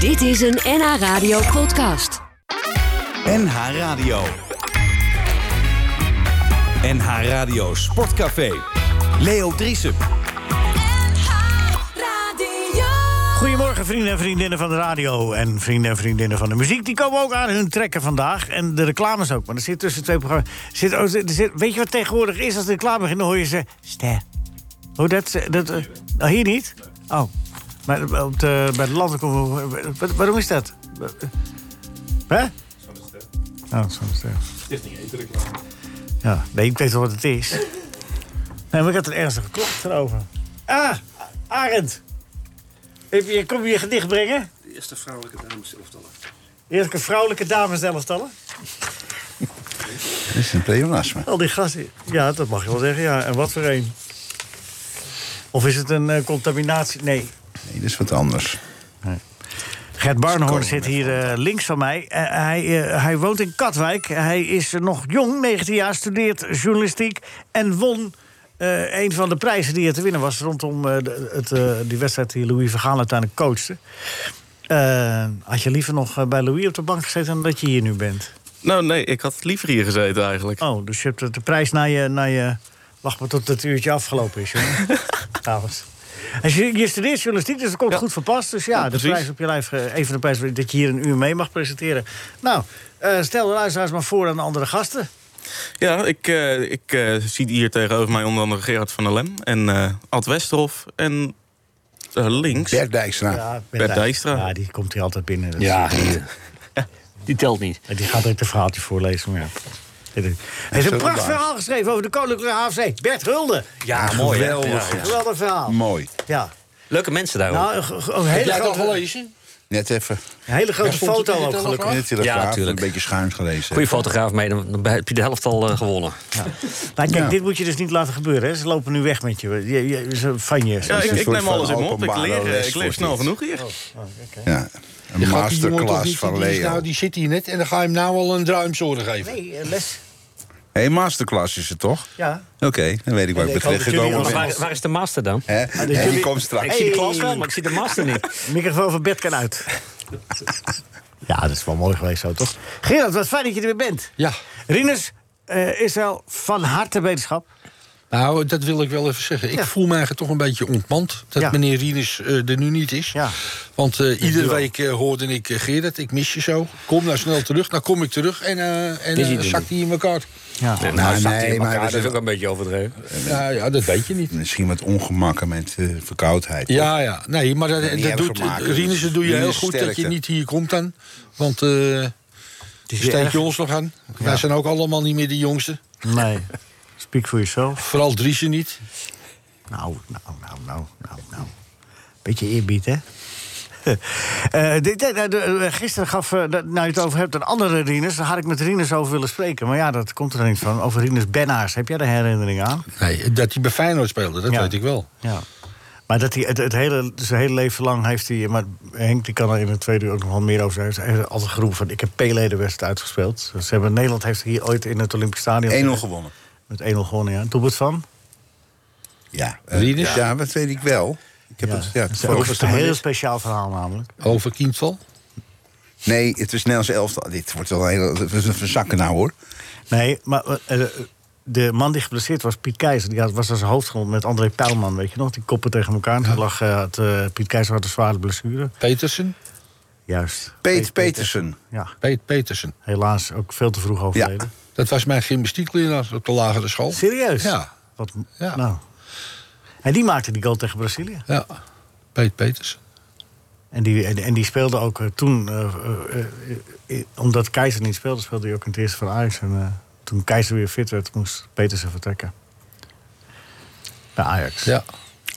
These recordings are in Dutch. Dit is een NH Radio podcast. NH Radio. NH Radio Sportcafé. Leo Driessen. Goedemorgen, vrienden en vriendinnen van de radio en vrienden en vriendinnen van de muziek. Die komen ook aan hun trekken vandaag. En de reclames ook. Maar er zit tussen twee programma's. Zit, oh, er zit- weet je wat tegenwoordig is als de reclame begint? Dan hoor je ze. Ster. Hoe dat. dat eh, oh, hier niet? Oh. Maar op de, bij de landen komen. wa- Waarom is dat? Hè? Oh, soms ster. Stichting Etenreclame. Ja, nee, ik weet wel wat het is. Nee, maar ik had een ernstige klacht erover. Ah, Arend. Heb je- Kom je je gedicht brengen? De eerste vrouwelijke dames elftallen. Eerlijke vrouwelijke dames elftallen. Dat is een pleonasme. Al die gasten. Ja, dat mag je wel zeggen. Ja. En wat voor een? Of is het een eh, contaminatie? Nee. Nee, dat is wat anders. Gert Barnhoorn zit hier eh, links van mij. Eh, hij, eh, hij woont in Katwijk. Hij is eh, nog jong, 19 jaar, studeert journalistiek... en won eh, een van de prijzen die er te winnen was... rondom eh, de- het, eh, die wedstrijd die Louis Vergaal uiteindelijk coachte. Eh, had je liever nog eh, bij Louis op de bank gezeten... dan dat je hier nu bent? Nou, nee, ik had liever hier gezeten eigenlijk. Oh, dus je hebt de- de prijs naar je... Naar je wacht maar tot het uurtje afgelopen is, jongen. Trouwens. Als je, je studeert journalistiek, dus dat komt goed verpast. Dus ja, Ja, de precies. prijs op je lijf, eh, een van de prijzen dat je hier een uur mee mag presenteren. Nou, eh, stel de luisteraars maar voor aan de andere gasten. Ja, ik, eh, ik eh, zie hier tegenover mij onder andere Gerard van der Lem en eh Ad Westerhof en eh, links. Bert Dijkstra. Ja, Bert Dijk- Dijkstra. Ja, die komt hier altijd binnen. Dat is- Ja, Die telt niet. En die gaat ook een verhaaltje voorlezen. Maar ja. Hij heeft een Zullen we prachtig maar. verhaal geschreven over de Koninklijke AFC. Bert Hulde. Ja, mooi. hè? geweldig. Ja, ja. Geweldig verhaal. Mooi. Ja. Leuke mensen daar ook. Nou, een, ge- een hele grote, gelezen? Net even. een hele grote foto ook, gelukkig. In de Ja, telegraaf. een tuurlijk. beetje schuins gelezen. Goeie fotograaf mee, dan dan heb je de helft al eh, gewonnen. Maar kijk, Ja. dit moet je dus niet laten gebeuren. Hè? Ze lopen nu weg met je. je, je ze- van je. Ja, ik, een ik soort neem alles in van me op. Ik openbare Ah, leer, eh, ik leer lesvoorlichting. snel genoeg hier. Ja. Een Gaat die jongen toch masterclass niet van die dienst Leo. Nou, die zit hier net en dan ga je hem nou al een druimzorg geven. Nee, eh, les. Hé, masterclass is het toch? Ja. Oké, dan weet ik waar Ik ik hoop ben dat jullie gekomen ons- ben. Waar, waar is de master dan? Hè? Hè, Die jullie- komt Ik straks. zie de Hey. klas wel, maar ik zie de master niet. Microfoon van bed kan uit. ja, dat is wel mooi geweest zo, toch? Gerard, wat fijn dat je er weer bent. Ja, Rinus, eh, is wel van harte wetenschap. nou, dat wil ik wel even zeggen. Ik Ja. voel me eigenlijk toch een beetje ontmand dat Ja. meneer Rinus eh, er nu niet is. Ja. Want eh, iedere wel. week eh, hoorde ik eh, Gerard, ik mis je zo. Kom nou snel terug. Nou kom ik terug en, eh en Is hij eh, er zakt hij in elkaar. Ja. Nee, nou, zakt hij in nee, maar elkaar, we dat is zijn- ook een beetje overdreven. Nou ja, dat weet je niet. Misschien met ongemakken, met eh, verkoudheid. Ja, ja. Nee, maar dat, niet dat erg doet, maken, dus Rinus, dat doe je Rinus heel goed dat je sterkte. niet hier komt dan. Want eh is steek erg. je ons nog aan. Wij zijn ook allemaal niet meer de jongste. Nee. Speak for yourself. Vooral Driesen niet. Nou, nou, nou, nou, nou, nou. Beetje eerbied, hè? Eh, dit- dit- eh, de- eh, gisteren gaf, eh, dat- nou je het over hebt, een andere Rinus. Daar had ik met Rinus over willen spreken. Maar ja, dat komt er niet van. Over Rinus Bennaars. Heb jij de herinnering aan? Nee, dat hij bij Feyenoord speelde, dat Ja. weet ik wel. Ja. Maar dat hij het, het hele, zijn hele leven lang heeft hij... eh, Maar Henk die kan er in het tweede uur ook nog wel meer over zeggen. Hij heeft altijd geroepen van, ik heb P-ledenwedstrijd uitgespeeld. Ze hebben, Nederland heeft hier ooit in het Olympisch Stadion... 1-0 gewonnen. Met 1-0 gewonnen, ja. Doelpunt van? Ja. eh, Rinus? Ja, dat weet ik wel. Ik heb ja. het, ja, dat is het ook was een de- heel speciaal verhaal namelijk. Over Kindval. Nee, het is Nederlands elftal. Dit wordt wel een hele... We zakken nou, hoor. Nee, maar eh, eh, de man die geblesseerd was, Piet Keizer... die had, was als hoofdgrond met André Pijlman, weet je nog? Die koppen tegen elkaar. En toen lag eh, had, eh, Piet Keizer had een zware blessure. Petersen. Juist. Peet Petersen. Ja, Peet Petersen. helaas ook veel te vroeg overleden. Dat was mijn gymnastiekleraar op de lagere school. Serieus? Ja. Wat, Ja. Nou. En die maakte die goal tegen Brazilië. Ja, Peet Petersen. En die, en, en die speelde ook eh, toen... eh, eh, eh, eh, omdat Keizer niet speelde, speelde hij ook in het eerste van Ajax. En eh, toen Keizer weer fit werd, moest Petersen vertrekken. Naar Ajax. Ja.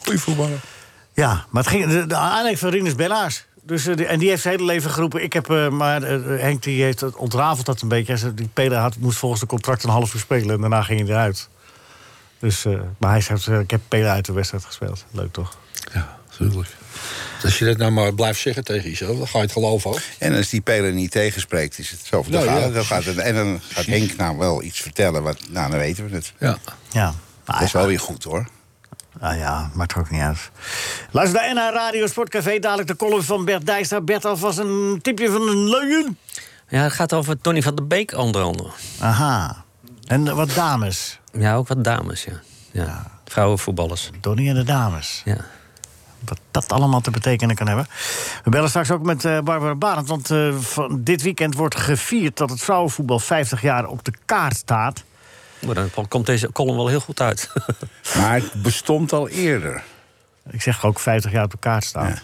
Goeie voetballer. Ja, maar het ging, de, de aanleiding van Rinus Bellaars. Dus, eh, die- en die heeft zijn hele leven geroepen. Ik heb, eh, maar eh, Henk die heeft het ontrafeld dat een beetje. Hij zei, Die Pela had, moest volgens de contract een half uur spelen en daarna ging hij eruit. Dus, eh, maar hij zegt, eh, ik heb Pela uit de wedstrijd gespeeld. Leuk toch? Ja, tuurlijk. Als je dat nou maar blijft zeggen tegen jezelf, dan ga je het geloven ook. En als die peler niet tegenspreekt, is het zo. Dan Nou, gaat, ja, dan gaat het- en dan gaat Henk nou wel iets vertellen. Wat, nou, dan weten we het. Ja. Ah, Ja. Maar Dat is hij- wel weer goed, hoor. Ah ja, maakt er ook niet uit. Luister naar NH Radio Sportcafé. Dadelijk de column van Bert Dijkstra. Bert, alvast een tipje van een leugen. Ja, het gaat over Tony van der Beek, onder andere. Aha. En wat dames. Ja, ook wat dames, ja. ja. Vrouwenvoetballers. Donnie en de dames. Ja. wat dat allemaal te betekenen kan hebben. We bellen straks ook met eh, Barbara Barend, want eh, van dit weekend wordt gevierd... dat het vrouwenvoetbal 50 jaar op de kaart staat. Maar dan komt deze column wel heel goed uit. Maar het bestond al eerder. Ik zeg ook 50 jaar op de kaart staat.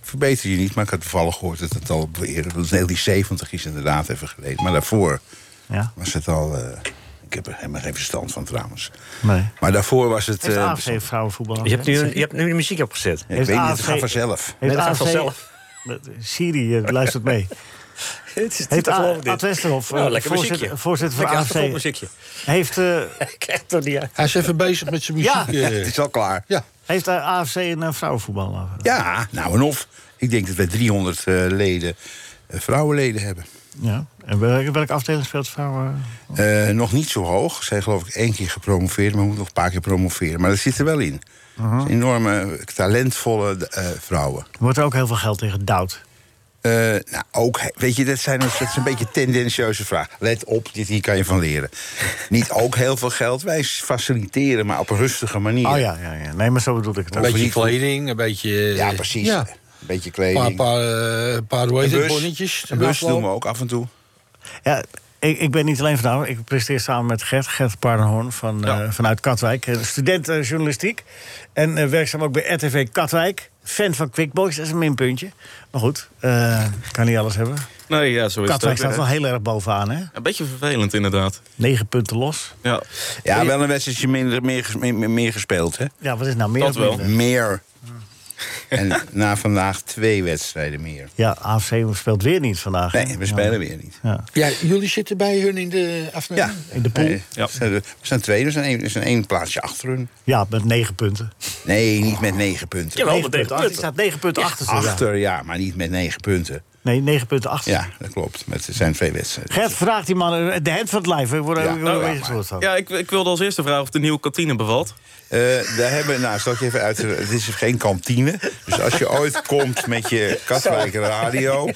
Verbeter je niet, maar ik had toevallig gehoord dat het al eerder... Dat 1970 is inderdaad even geleden. Maar daarvoor Ja, was het al... eh, ik heb er helemaal geen verstand van trouwens. nee. Maar daarvoor was het... Heeft eh, AFC vrouwenvoetbal? Je hebt, nu, je hebt nu de muziek opgezet. ja, ik heeft weet niet, het AFC gaat vanzelf. Heeft dat gaat AFC vanzelf. Dat- Siri eh, luistert mee. Het is Heeft A- Ad Westerhof, eh, Nou, lekker voorzitter- muziekje. voorzitter van Lekker AFC. achtergrondmuziekje. Heeft, eh, Ik krijg het toch niet uit. Hij is even bezig met zijn muziek. Ja. eh. Ja, het is al klaar. ja. heeft eh, AFC een eh, vrouwenvoetbal? Ja, nou en of. Ik denk dat wij 300 eh, leden, eh, vrouwenleden hebben. Ja. En welke, welke afdeling speelt vrouwen? Eh, nog niet zo hoog. Ze zijn geloof ik één keer gepromoveerd, maar moeten nog een paar keer promoveren. Maar dat zit er wel in. Uh-huh. Het zijn Enorme, eh, talentvolle eh, vrouwen. Wordt er ook heel veel geld tegen gedouwd? Eh, nou, ook, he- weet je, dat, zijn, dat is een beetje tendentieuze vraag. Let op, dit hier kan je van leren. Niet ook heel veel geld. Wij faciliteren, maar op een rustige manier. Oh ja, ja, ja. Nee, maar zo bedoel ik het Een ook. beetje kleding, een beetje... eh, Ja, precies. Ja. Een beetje Een paar, kleding. paar, eh, paar hoe heet Een het, bus. bonnetjes. Een bus afloop. doen we ook af en toe. Ja, ik, ik ben niet alleen vandaag. Ik presteer samen met Gert, Gert Pardenhoorn van, eh, vanuit Katwijk. eh, Student eh, journalistiek. En eh, werkzaam ook bij RTV Katwijk. Fan van Quickboys, dat is een minpuntje. Maar goed, eh, kan niet alles hebben. Nee, ja, zo is Katwijk het ook, staat hè. wel heel erg bovenaan, hè? Een beetje vervelend, inderdaad. Negen punten los. Ja. Ja, wel een wedstrijdje minder, meer, ges- meer, meer- meer gespeeld, hè? Ja, wat is nou meer? Dat of wel. minder? Meer. En na vandaag twee wedstrijden meer. Ja, AFC speelt weer niet vandaag. hè? Nee, we spelen weer niet. Ja, jullie zitten bij hun in de afdeling? Ja. In de pool? Nee, Ja. we zijn- we zijn tweede, we zijn één, we zijn één plaatsje achter hun. Ja, met negen punten. Nee, niet met negen punten. Jawel, Negen met negen punten. punten. Je staat negen punten achter. ze, ja. Achter, ja, maar niet met negen punten. Nee, negen punten achter. Ja, dat klopt. Maar het zijn twee wedstrijden. Gert vraagt die man eh, de hand van het lijf. hè. Ik word er Ja. ik word er Oh, ja, een beetje maar- gestoord van. Ja, ik, ik wilde als eerste vragen of de nieuwe kantine bevalt. Eh, daar hebben, nou, zal ik je even uit. Het is geen kantine. Dus als je ooit komt met je Katwijk Radio,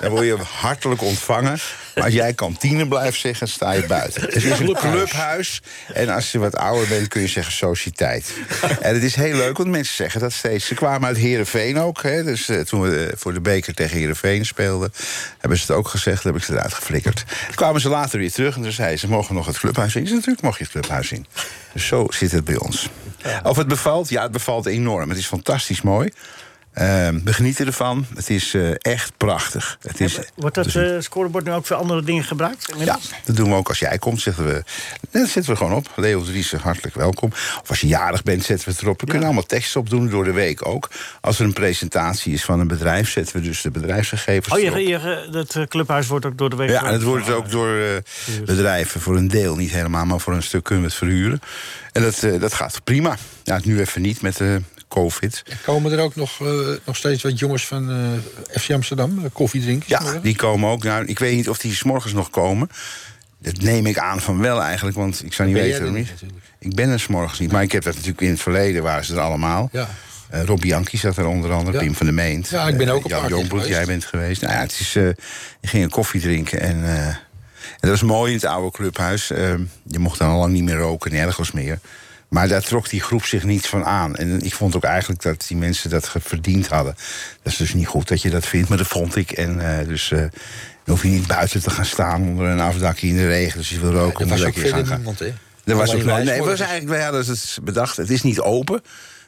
dan word je hartelijk ontvangen. Maar als jij kantine blijft zeggen, sta je buiten. Het is een clubhuis. En als je wat ouder bent, kun je zeggen sociëteit. En het is heel leuk, want mensen zeggen dat steeds. Ze kwamen uit Heerenveen ook. Hè? Dus eh, toen we eh, voor de beker tegen Heerenveen speelden... hebben ze het ook gezegd, heb ik ze eruit geflikkerd. Toen kwamen ze later weer terug en toen zeiden ze... mogen we nog het clubhuis in? Ik zei, natuurlijk mag je het clubhuis in. Dus zo zit het bij ons. Of het bevalt? Ja, het bevalt enorm. Het is fantastisch mooi. Ehm, we genieten ervan. Het is eh, echt prachtig. Het is, Wordt dat eh, scorebord nu ook voor andere dingen gebruikt? ja, inmiddels? dat doen we ook als jij komt, zeggen we. Dan zetten we gewoon op. Leo Driessen, hartelijk welkom. Of als je jarig bent, zetten we het erop. We kunnen allemaal teksten opdoen door de week ook. Als er een presentatie is van een bedrijf, zetten we dus de bedrijfsgegevens Oh, je, erop. je, dat eh, clubhuis wordt ook door de week... Ja, en het wordt ook door eh, bedrijven voor een deel, niet helemaal, maar voor een stuk kunnen we het verhuren. En dat, eh, dat gaat prima. Ja, nu even niet met de COVID. Komen er ook nog, eh, nog steeds wat jongens van eh, FC Amsterdam eh, koffie drinken? Ja, die komen ook. Nou, ik weet niet of die s'morgens nog komen. Dat neem ik aan van wel eigenlijk, want ik zou niet Ben jij weten. er hoor. niet, natuurlijk. ik ben er s'morgens niet, maar ik heb dat natuurlijk in het verleden, waren ze er allemaal. Ja. Eh, Rob Bianchi zat er onder andere, Ja. Pim van der Meent. Ja, ik ben eh, ook een Jan paar keer Jongbloed, geweest. jij bent geweest. Nou ja, het is, eh ik ging een koffie drinken en, eh, en dat was mooi in het oude clubhuis. Eh, je mocht dan al lang niet meer roken, nergens meer. Maar daar trok die groep zich niet van aan. En ik vond ook eigenlijk dat die mensen dat ge- verdiend hadden. Dat is dus niet goed dat je dat vindt, maar dat vond ik. En eh, dus eh, dan hoef je niet buiten te gaan staan onder een afdakje in de regen. Dus je wil roken, Er moet was je ook lekker in gang verder gaan. niemand, hè? Er was Alleen ook nooit- wij nee, het was worden- eigenlijk, wij hadden het bedacht, het is niet open,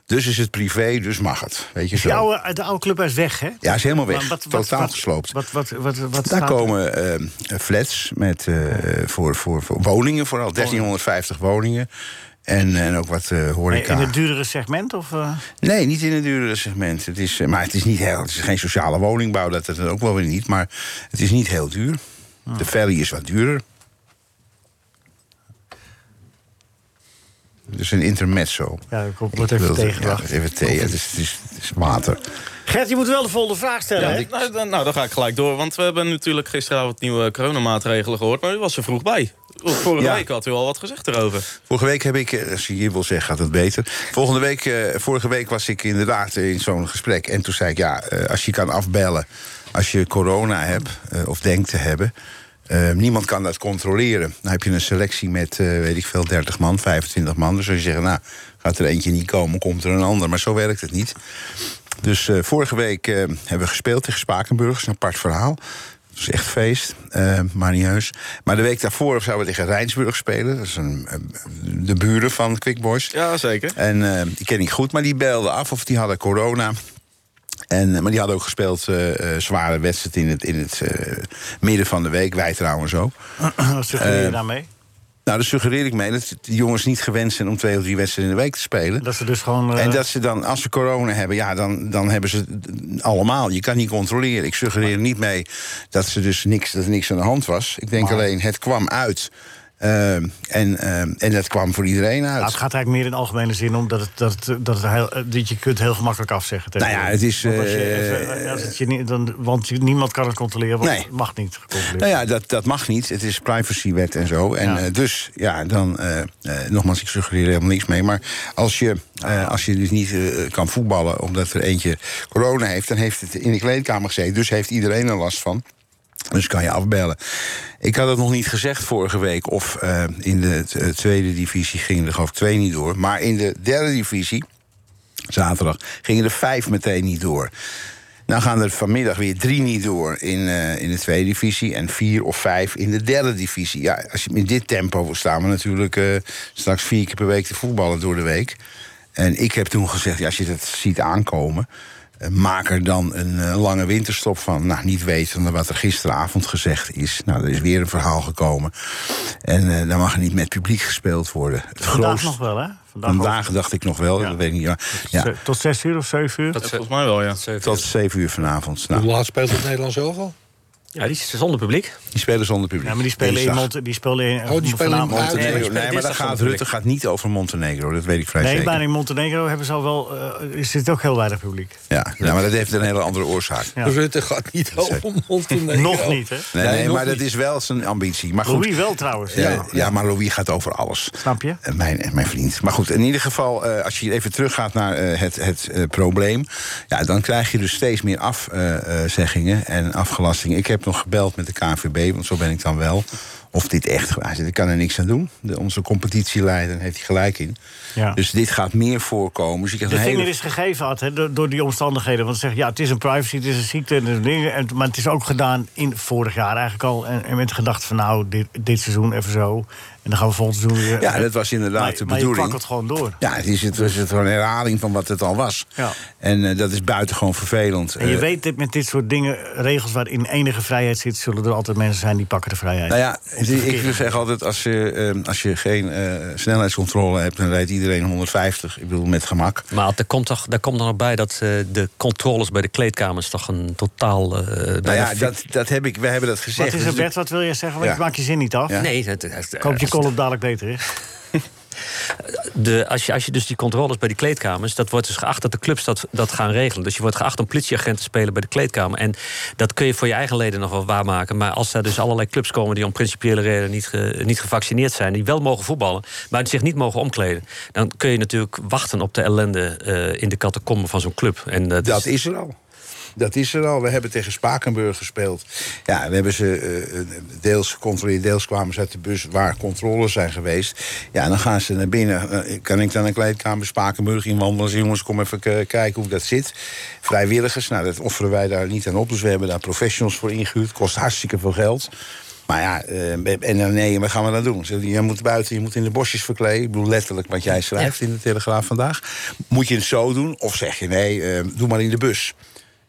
dus is het privé, dus mag het. Weet je De zo. oude, de oude clubhuis weg, hè? Ja, is helemaal Maar weg, wat- wat- totaal wat- gesloopt. Wat, wat, wat, wat, Daar staat er? komen eh, flats met, eh, voor, voor, voor woningen vooral, 1350 woningen. En, en ook wat eh, Nee, horeca. In het duurdere segment? Of, eh? Nee, niet in het duurdere segment. Het is, eh, maar het is niet heel. Het is geen sociale woningbouw, dat het ook wel weer niet. Maar het is niet heel duur. Ah. De ferry is wat duurder. Dus een intermezzo. Ja, ik hoop Ik dat even wilde- tegengebracht. ja, even thee. Het is, het, is, het is water. Gert, je moet wel de volgende vraag stellen, hè? Eh, nou, dan, nou, dan ga ik gelijk door. Want we hebben natuurlijk gisteravond nieuwe coronamaatregelen gehoord. Maar u was er vroeg bij. Vorige Ja. week had u al wat gezegd erover. Vorige week heb ik, eh, als je hier wil zeggen, gaat het beter. Volgende week, eh, vorige week was ik inderdaad eh, in zo'n gesprek. En toen zei ik, ja, eh, als je kan afbellen als je corona hebt eh, of denkt te hebben. eh, niemand kan dat controleren. Dan heb je een selectie met, eh, weet ik veel, 30 man, 25 man. Dus als je zegt, nou, gaat er eentje niet komen, komt er een ander. Maar zo werkt het niet. Dus eh, vorige week eh, hebben we gespeeld tegen Spakenburg. Dat is een apart verhaal. Het was echt feest, eh, maar niet heus. Maar de week daarvoor zouden we tegen Rijnsburg spelen. Dat is een, eh, de buren van Quick Boys. Ja, zeker. En eh, die ken ik goed, maar die belden af of die hadden corona. En, eh, maar die hadden ook gespeeld eh, eh, zware wedstrijd in het, in het eh, midden van de week. Wij trouwens ook. Wat suggereer Eh, je daarmee? Nou, daar suggereer ik mee dat die jongens niet gewend zijn om twee of drie wedstrijden in de week te spelen. Dat ze dus gewoon... eh, En dat ze dan, als ze corona hebben, ja, dan, dan hebben ze het allemaal. Je kan niet controleren. Ik suggereer niet mee dat, ze dus niks, dat er niks aan de hand was. Ik denk alleen, het kwam uit. Ehm, en, ehm, en dat kwam voor iedereen nou, uit. het gaat eigenlijk meer in algemene zin om dat, het, dat, het, dat, het heel, eh, dat je kunt heel gemakkelijk afzeggen. tegen Nou ja, je. het is, Want, als je eh, even- als het je niet- dan, want je- niemand kan het controleren, want Nee. het mag niet gecontroleerd Nou ja, dat, dat mag niet. Het is privacywet en zo. En Ja. eh, dus, ja, dan... eh, eh, nogmaals, ik suggereer er helemaal niks mee. Maar als je, eh, als je dus niet eh, kan voetballen omdat er eentje corona heeft... dan heeft het in de kleedkamer gezeten. Dus heeft iedereen er last van. Dus kan je afbellen. Ik had het nog niet gezegd vorige week. Of eh, in de t- eh, tweede divisie gingen er geloof ik twee niet door. Maar in de derde divisie, zaterdag, gingen er vijf meteen niet door. Nou gaan er vanmiddag weer drie niet door in, eh, in de tweede divisie... en vier of vijf in de derde divisie. Ja, als je in dit tempo wil staan... we natuurlijk eh, straks vier keer per week te voetballen door de week. En ik heb toen gezegd, ja, als je dat ziet aankomen... eh, maak er dan een eh, lange winterstop van. Nou, niet wetende wat er gisteravond gezegd is. Nou, er is weer een verhaal gekomen. En eh, dan mag er niet met publiek gespeeld worden. Het Vandaag grootste- nog wel, hè? Vandaag, Vandaag dacht ik nog wel, Ja. dat weet ik niet. maar- nog. ja, Ze- Tot zes uur of zeven uur? Dat is, Volgens mij wel, ja. tot zeven uur vanavond. Nou, Hoe laat speelt het Nederlands elftal? ja, die is zonder publiek. die spelen zonder publiek. Ja, maar die spelen in Dinsdag. Mont- die spelen in Oh, die spelen in vanavond- Montenegro. Montenegro. Nee, Nee, maar dit maar is dat toch gaat, zonder Rutte gaat niet over Montenegro. Dat weet ik vrij Nee, zeker. maar in Montenegro hebben ze al wel, eh, er zit ook heel weinig publiek. Ja, ja, maar dat heeft een hele andere oorzaak. Ja. Rutte gaat niet over Montenegro. Nog niet, hè? Nee, Nee, nee, nog maar dat niet. is wel zijn ambitie. Maar goed, Louis wel trouwens. ja, Eh, ja. maar Louis gaat over alles. Snap je? Eh, Mijn, eh, mijn vriend. Maar goed, in ieder geval, eh, als je even teruggaat naar eh, het, het eh, probleem... Ja, dan krijg je dus steeds meer afzeggingen eh, en afgelastingen. Ik heb nog gebeld met de KNVB, want zo ben ik dan wel. Of dit echt... Hij zegt, Ik kan er niks aan doen. De, onze competitieleider heeft hij gelijk in. Ja. Dus dit gaat meer voorkomen. Dus je krijgt De een hele vinger is gegeven had, hè, door, door die omstandigheden. Want ze zeggen, ja, het is een privacy, het is een ziekte, en een ding, en- maar het is ook gedaan in vorig jaar eigenlijk al. En, en met de gedachte van, nou, dit, dit seizoen even zo. En dan gaan we volgend seizoen weer... Ja, dat was inderdaad maar, de Maar je bedoeling. pakt het gewoon door. Ja, het is, het is het gewoon een herhaling van wat het al was. Ja. En eh, dat is buitengewoon vervelend. En je Eh, weet dat met dit soort dingen, regels waarin enige vrijheid zit... zullen er altijd mensen zijn die pakken de vrijheid. nou ja, ik wil zeggen altijd, als je, eh, als je geen eh, snelheidscontrole hebt... dan rijdt iedereen 150, ik bedoel met gemak. Nou Maar er komt toch, daar komt dan nog bij dat eh, de controles bij de kleedkamers toch een totaal. eh, Nou bijna ja, fi- dat, dat heb ik, we hebben dat gezegd. Wat is Dus er, Bert? Wat wil jij zeggen? Want Ja. je maakt je zin niet af. Ja. Nee, het, het, Ik hoop dat je als- kolom dadelijk beter is. de, als, je, als je dus die controles bij die kleedkamers... dat wordt dus geacht dat de clubs dat, dat gaan regelen. Dus je wordt geacht om politieagent te spelen bij de kleedkamer. En dat kun je voor je eigen leden nog wel waarmaken. Maar als er dus allerlei clubs komen die om principiële redenen niet, ge- niet gevaccineerd zijn... die wel mogen voetballen, maar die zich niet mogen omkleden... dan kun je natuurlijk wachten op de ellende eh, in de catacomben van zo'n club. En eh, dat, Dat is er al. Dat is er al. We hebben tegen Spakenburg gespeeld. Ja, we hebben ze eh, deels gecontroleerd, deels kwamen ze uit de bus waar controles zijn geweest. Ja, dan gaan ze naar binnen. Eh, Kan ik dan een kleedkamer Spakenburg inwandelen? Zeggen, Jongens, kom even k- kijken hoe dat zit. Vrijwilligers, nou, dat offeren wij daar niet aan op. Dus we hebben daar professionals voor ingehuurd. Kost hartstikke veel geld. Maar ja, eh, en dan nee, wat gaan we dan doen? Ze- Je moet buiten, je moet in de bosjes verkleden. Ik bedoel letterlijk wat jij schrijft in de Telegraaf vandaag. Moet je het zo doen? Of zeg je nee, eh, doe maar in de bus.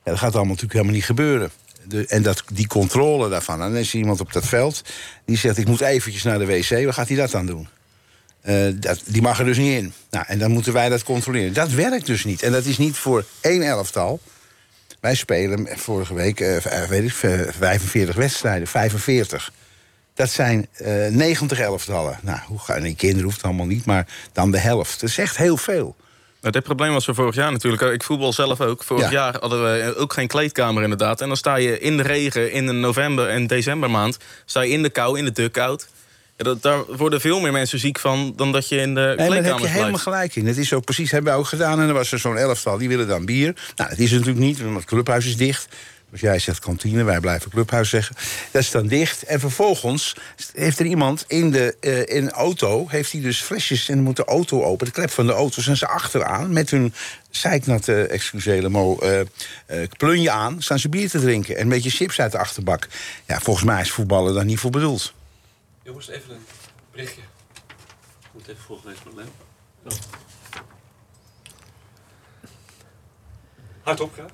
Ja, dat gaat allemaal natuurlijk helemaal niet gebeuren. De, en dat, die controle daarvan. En dan is er iemand op dat veld die zegt: Ik moet eventjes naar de wc. Wat gaat hij dat dan doen? Eh, dat, die mag er dus niet in. Nou, en dan moeten wij dat controleren. Dat werkt dus niet. En dat is niet voor één elftal. Wij spelen vorige week eh, v- eh, weet ik, v- 45 wedstrijden, 45. Dat zijn eh 90 elftallen. Nou, hoe gaan die kinderen hoeft het allemaal niet, maar dan de helft. Dat is echt heel veel. Nou, dit probleem was er vorig jaar natuurlijk. Ik voetbal zelf ook. Vorig Ja. jaar hadden we eh, ook geen kleedkamer inderdaad. En dan sta je in de regen in de november en decembermaand. Sta je in de kou, in de duckout. Ja, dat, daar worden veel meer mensen ziek van dan dat je in de Nee, maar daar heb je kleedkamers helemaal blijft. gelijk in. Dat is ook precies, hebben we ook gedaan. En er was er zo'n elftal, die willen dan bier. Nou, dat is het natuurlijk niet, want het clubhuis is dicht. Dus jij zegt kantine, wij blijven clubhuis zeggen. Dat is dan dicht. En vervolgens heeft er iemand in de eh, in een auto... heeft hij dus flesjes en dan moet de auto open. De klep van de auto zijn ze achteraan... met hun zeiknatte, excusez mo, eh, eh, plunje aan... staan ze bier te drinken en een beetje chips uit de achterbak. Ja, volgens mij is voetballen daar niet voor bedoeld. Jongens, even een berichtje. Oh. Ik moet even volgen deze probleem. Hardop, ja.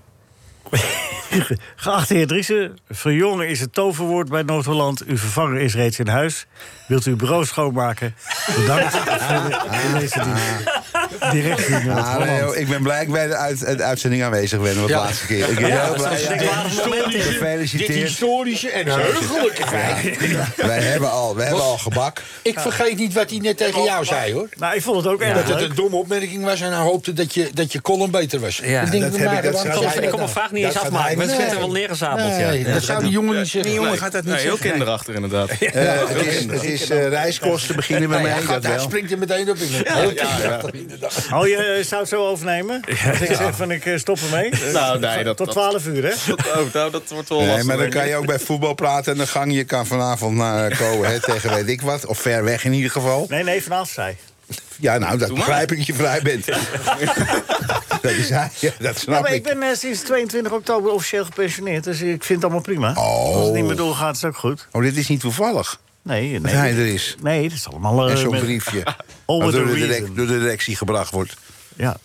Geachte heer Driessen, verjongen is het toverwoord bij Noord-Holland. Uw vervanger is reeds in huis. Wilt u uw bureau schoonmaken? Bedankt voor de- voor deze dienst. Direct in Ah, nee, Noord-Holland. joh, ik ben blij dat ik bij de, uit, eh, de uitzending aanwezig ben. Wat de Ja. laatste keer. Ik ben heel blij. een merkwaardig moment, hè? Dit Gefeliciteerd. historische en heugelijke feit. Wij hebben al, wij hebben al gebak. Ik vergeet niet wat hij net tegen jou zei, hoor. Nou, ik vond het ook Dat erg het leuk. een domme opmerking was en hij hoopte dat je, dat je column beter was. Ja, Ik denk, dat maar heb ik- dat waarom zou- zei ik dat kon mijn nou? vraag niet dat eens gaat afmaken. mij- We zitten Nee. wel neergezameld. ja. Nee, Ja. dat zou die jongen niet Die zeggen. jongen gaat dat niet Nee, heel zeggen. kinderachtig inderdaad. Nee. Eh, het is, het is eh, reiskosten beginnen bij Nee, Nou hij mij, gaat- dat Hij wel. springt er meteen op in. Heel kinderachtig, inderdaad. Oh, je eh, zou het zo overnemen? Dat ik zeg van, ik eh, stop ermee. Nou, nee, dat- Tot dat- 12 uur, hè? Dat, oh, nou, dat wordt wel Nee, lastig, maar dan denk kan ik. je ook bij voetbal praten en dan gang je kan vanavond naar Cohen tegen weet ik wat. Of ver weg in ieder geval. Nee, nee, vanaf zij. Ja, nou, dat Doe maar. begrijp ik dat je vrij bent. dat is hij, ja, dat Ja, snap maar ik ik. ben eh, sinds 22 oktober officieel gepensioneerd, dus ik vind het allemaal prima. Als het niet meer doorgaat, is het ook goed. Oh, dit is niet toevallig Nee, dat nee. hij er is. Nee, dat is allemaal... eh, En zo'n met- briefje. All Wat with door a de, direct- reason. door de directie gebracht wordt. Ja.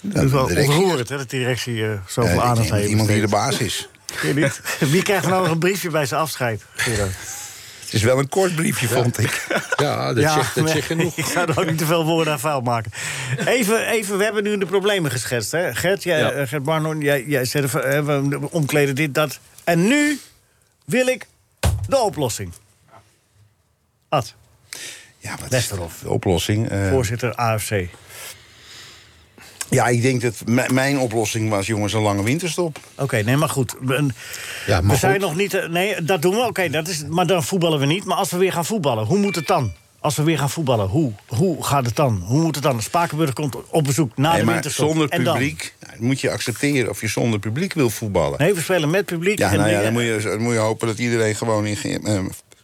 Dat is wel de directie- ontroerend, hè, dat die directie eh, zoveel Eh, aandacht heeft. iemand die de baas is. Vind je niet? Wie krijgt nou nog een briefje bij zijn afscheid? Gerard? Het is wel een kort briefje, vond ik. Ja, dat zegt dat maar zegt genoeg. Ik zou er ook niet te veel woorden aan vuil maken. Even, even, we hebben nu de problemen geschetst, hè? Gert, jij, Ja. eh, Gert Barnon, jij, jij zei van, eh, we omkleden dit, dat. En nu wil ik de oplossing. Ad, Ja, wat is Westerhof. de oplossing? Eh, voorzitter AFC. Oké, ja, ik denk dat m- mijn oplossing was, jongens, een lange winterstop. nee, maar goed. We, Ja, we maar zijn goed. nog niet... eh, Nee, dat doen we, oké, dat is. maar dan voetballen we niet. Maar als we weer gaan voetballen, hoe moet het dan? Als we weer gaan voetballen, hoe, hoe gaat het dan? Hoe moet het dan? Spakenburg komt op bezoek na Nee, de maar winterstop. zonder En dan? publiek nou, dat moet je accepteren of je zonder publiek wil voetballen. Nee, we spelen met publiek. Ja, en nou ja, nu- dan moet, je, dan moet je hopen dat iedereen gewoon in ge- eh,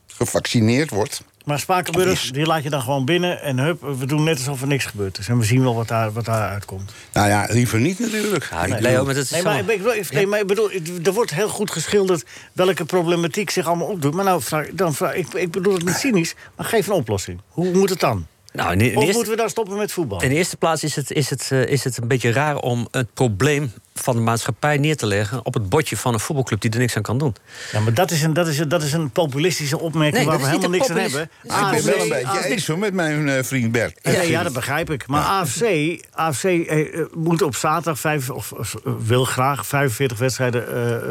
gevaccineerd wordt. Maar Spakenburg, die laat je dan gewoon binnen en hup, we doen net alsof er niks gebeurd is. En we zien wel wat daar, wat daar uitkomt. Nou ja, liever niet natuurlijk. Ja, Ik bedoel- Leo, maar dat is Nee, zo. maar ik bedoel, ik- nee, maar ik bedoel, er wordt heel goed geschilderd welke problematiek zich allemaal opdoet. Maar nou, vraag, dan vraag, ik, ik bedoel het niet cynisch, maar geef een oplossing. Hoe moet het dan? Nou, in, in Of eerste- moeten we dan stoppen met voetbal? In de eerste plaats is het, is, het, eh, is het een beetje raar om het probleem van de maatschappij neer te leggen op het bordje van een voetbalclub die er niks aan kan doen. Ja, maar dat is een, dat is een, dat is een populistische opmerking Nee, waar we dat is helemaal niet niks een aan hebben. Ah, ik ben wel een AFC, beetje eens hoor, met mijn eh, vriend Bert. Ja, ja, dat begrijp ik. Maar AFC, AFC eh, eh, moet op zaterdag, vijf, of, of, eh, wil graag 45 wedstrijden eh, eh, eh,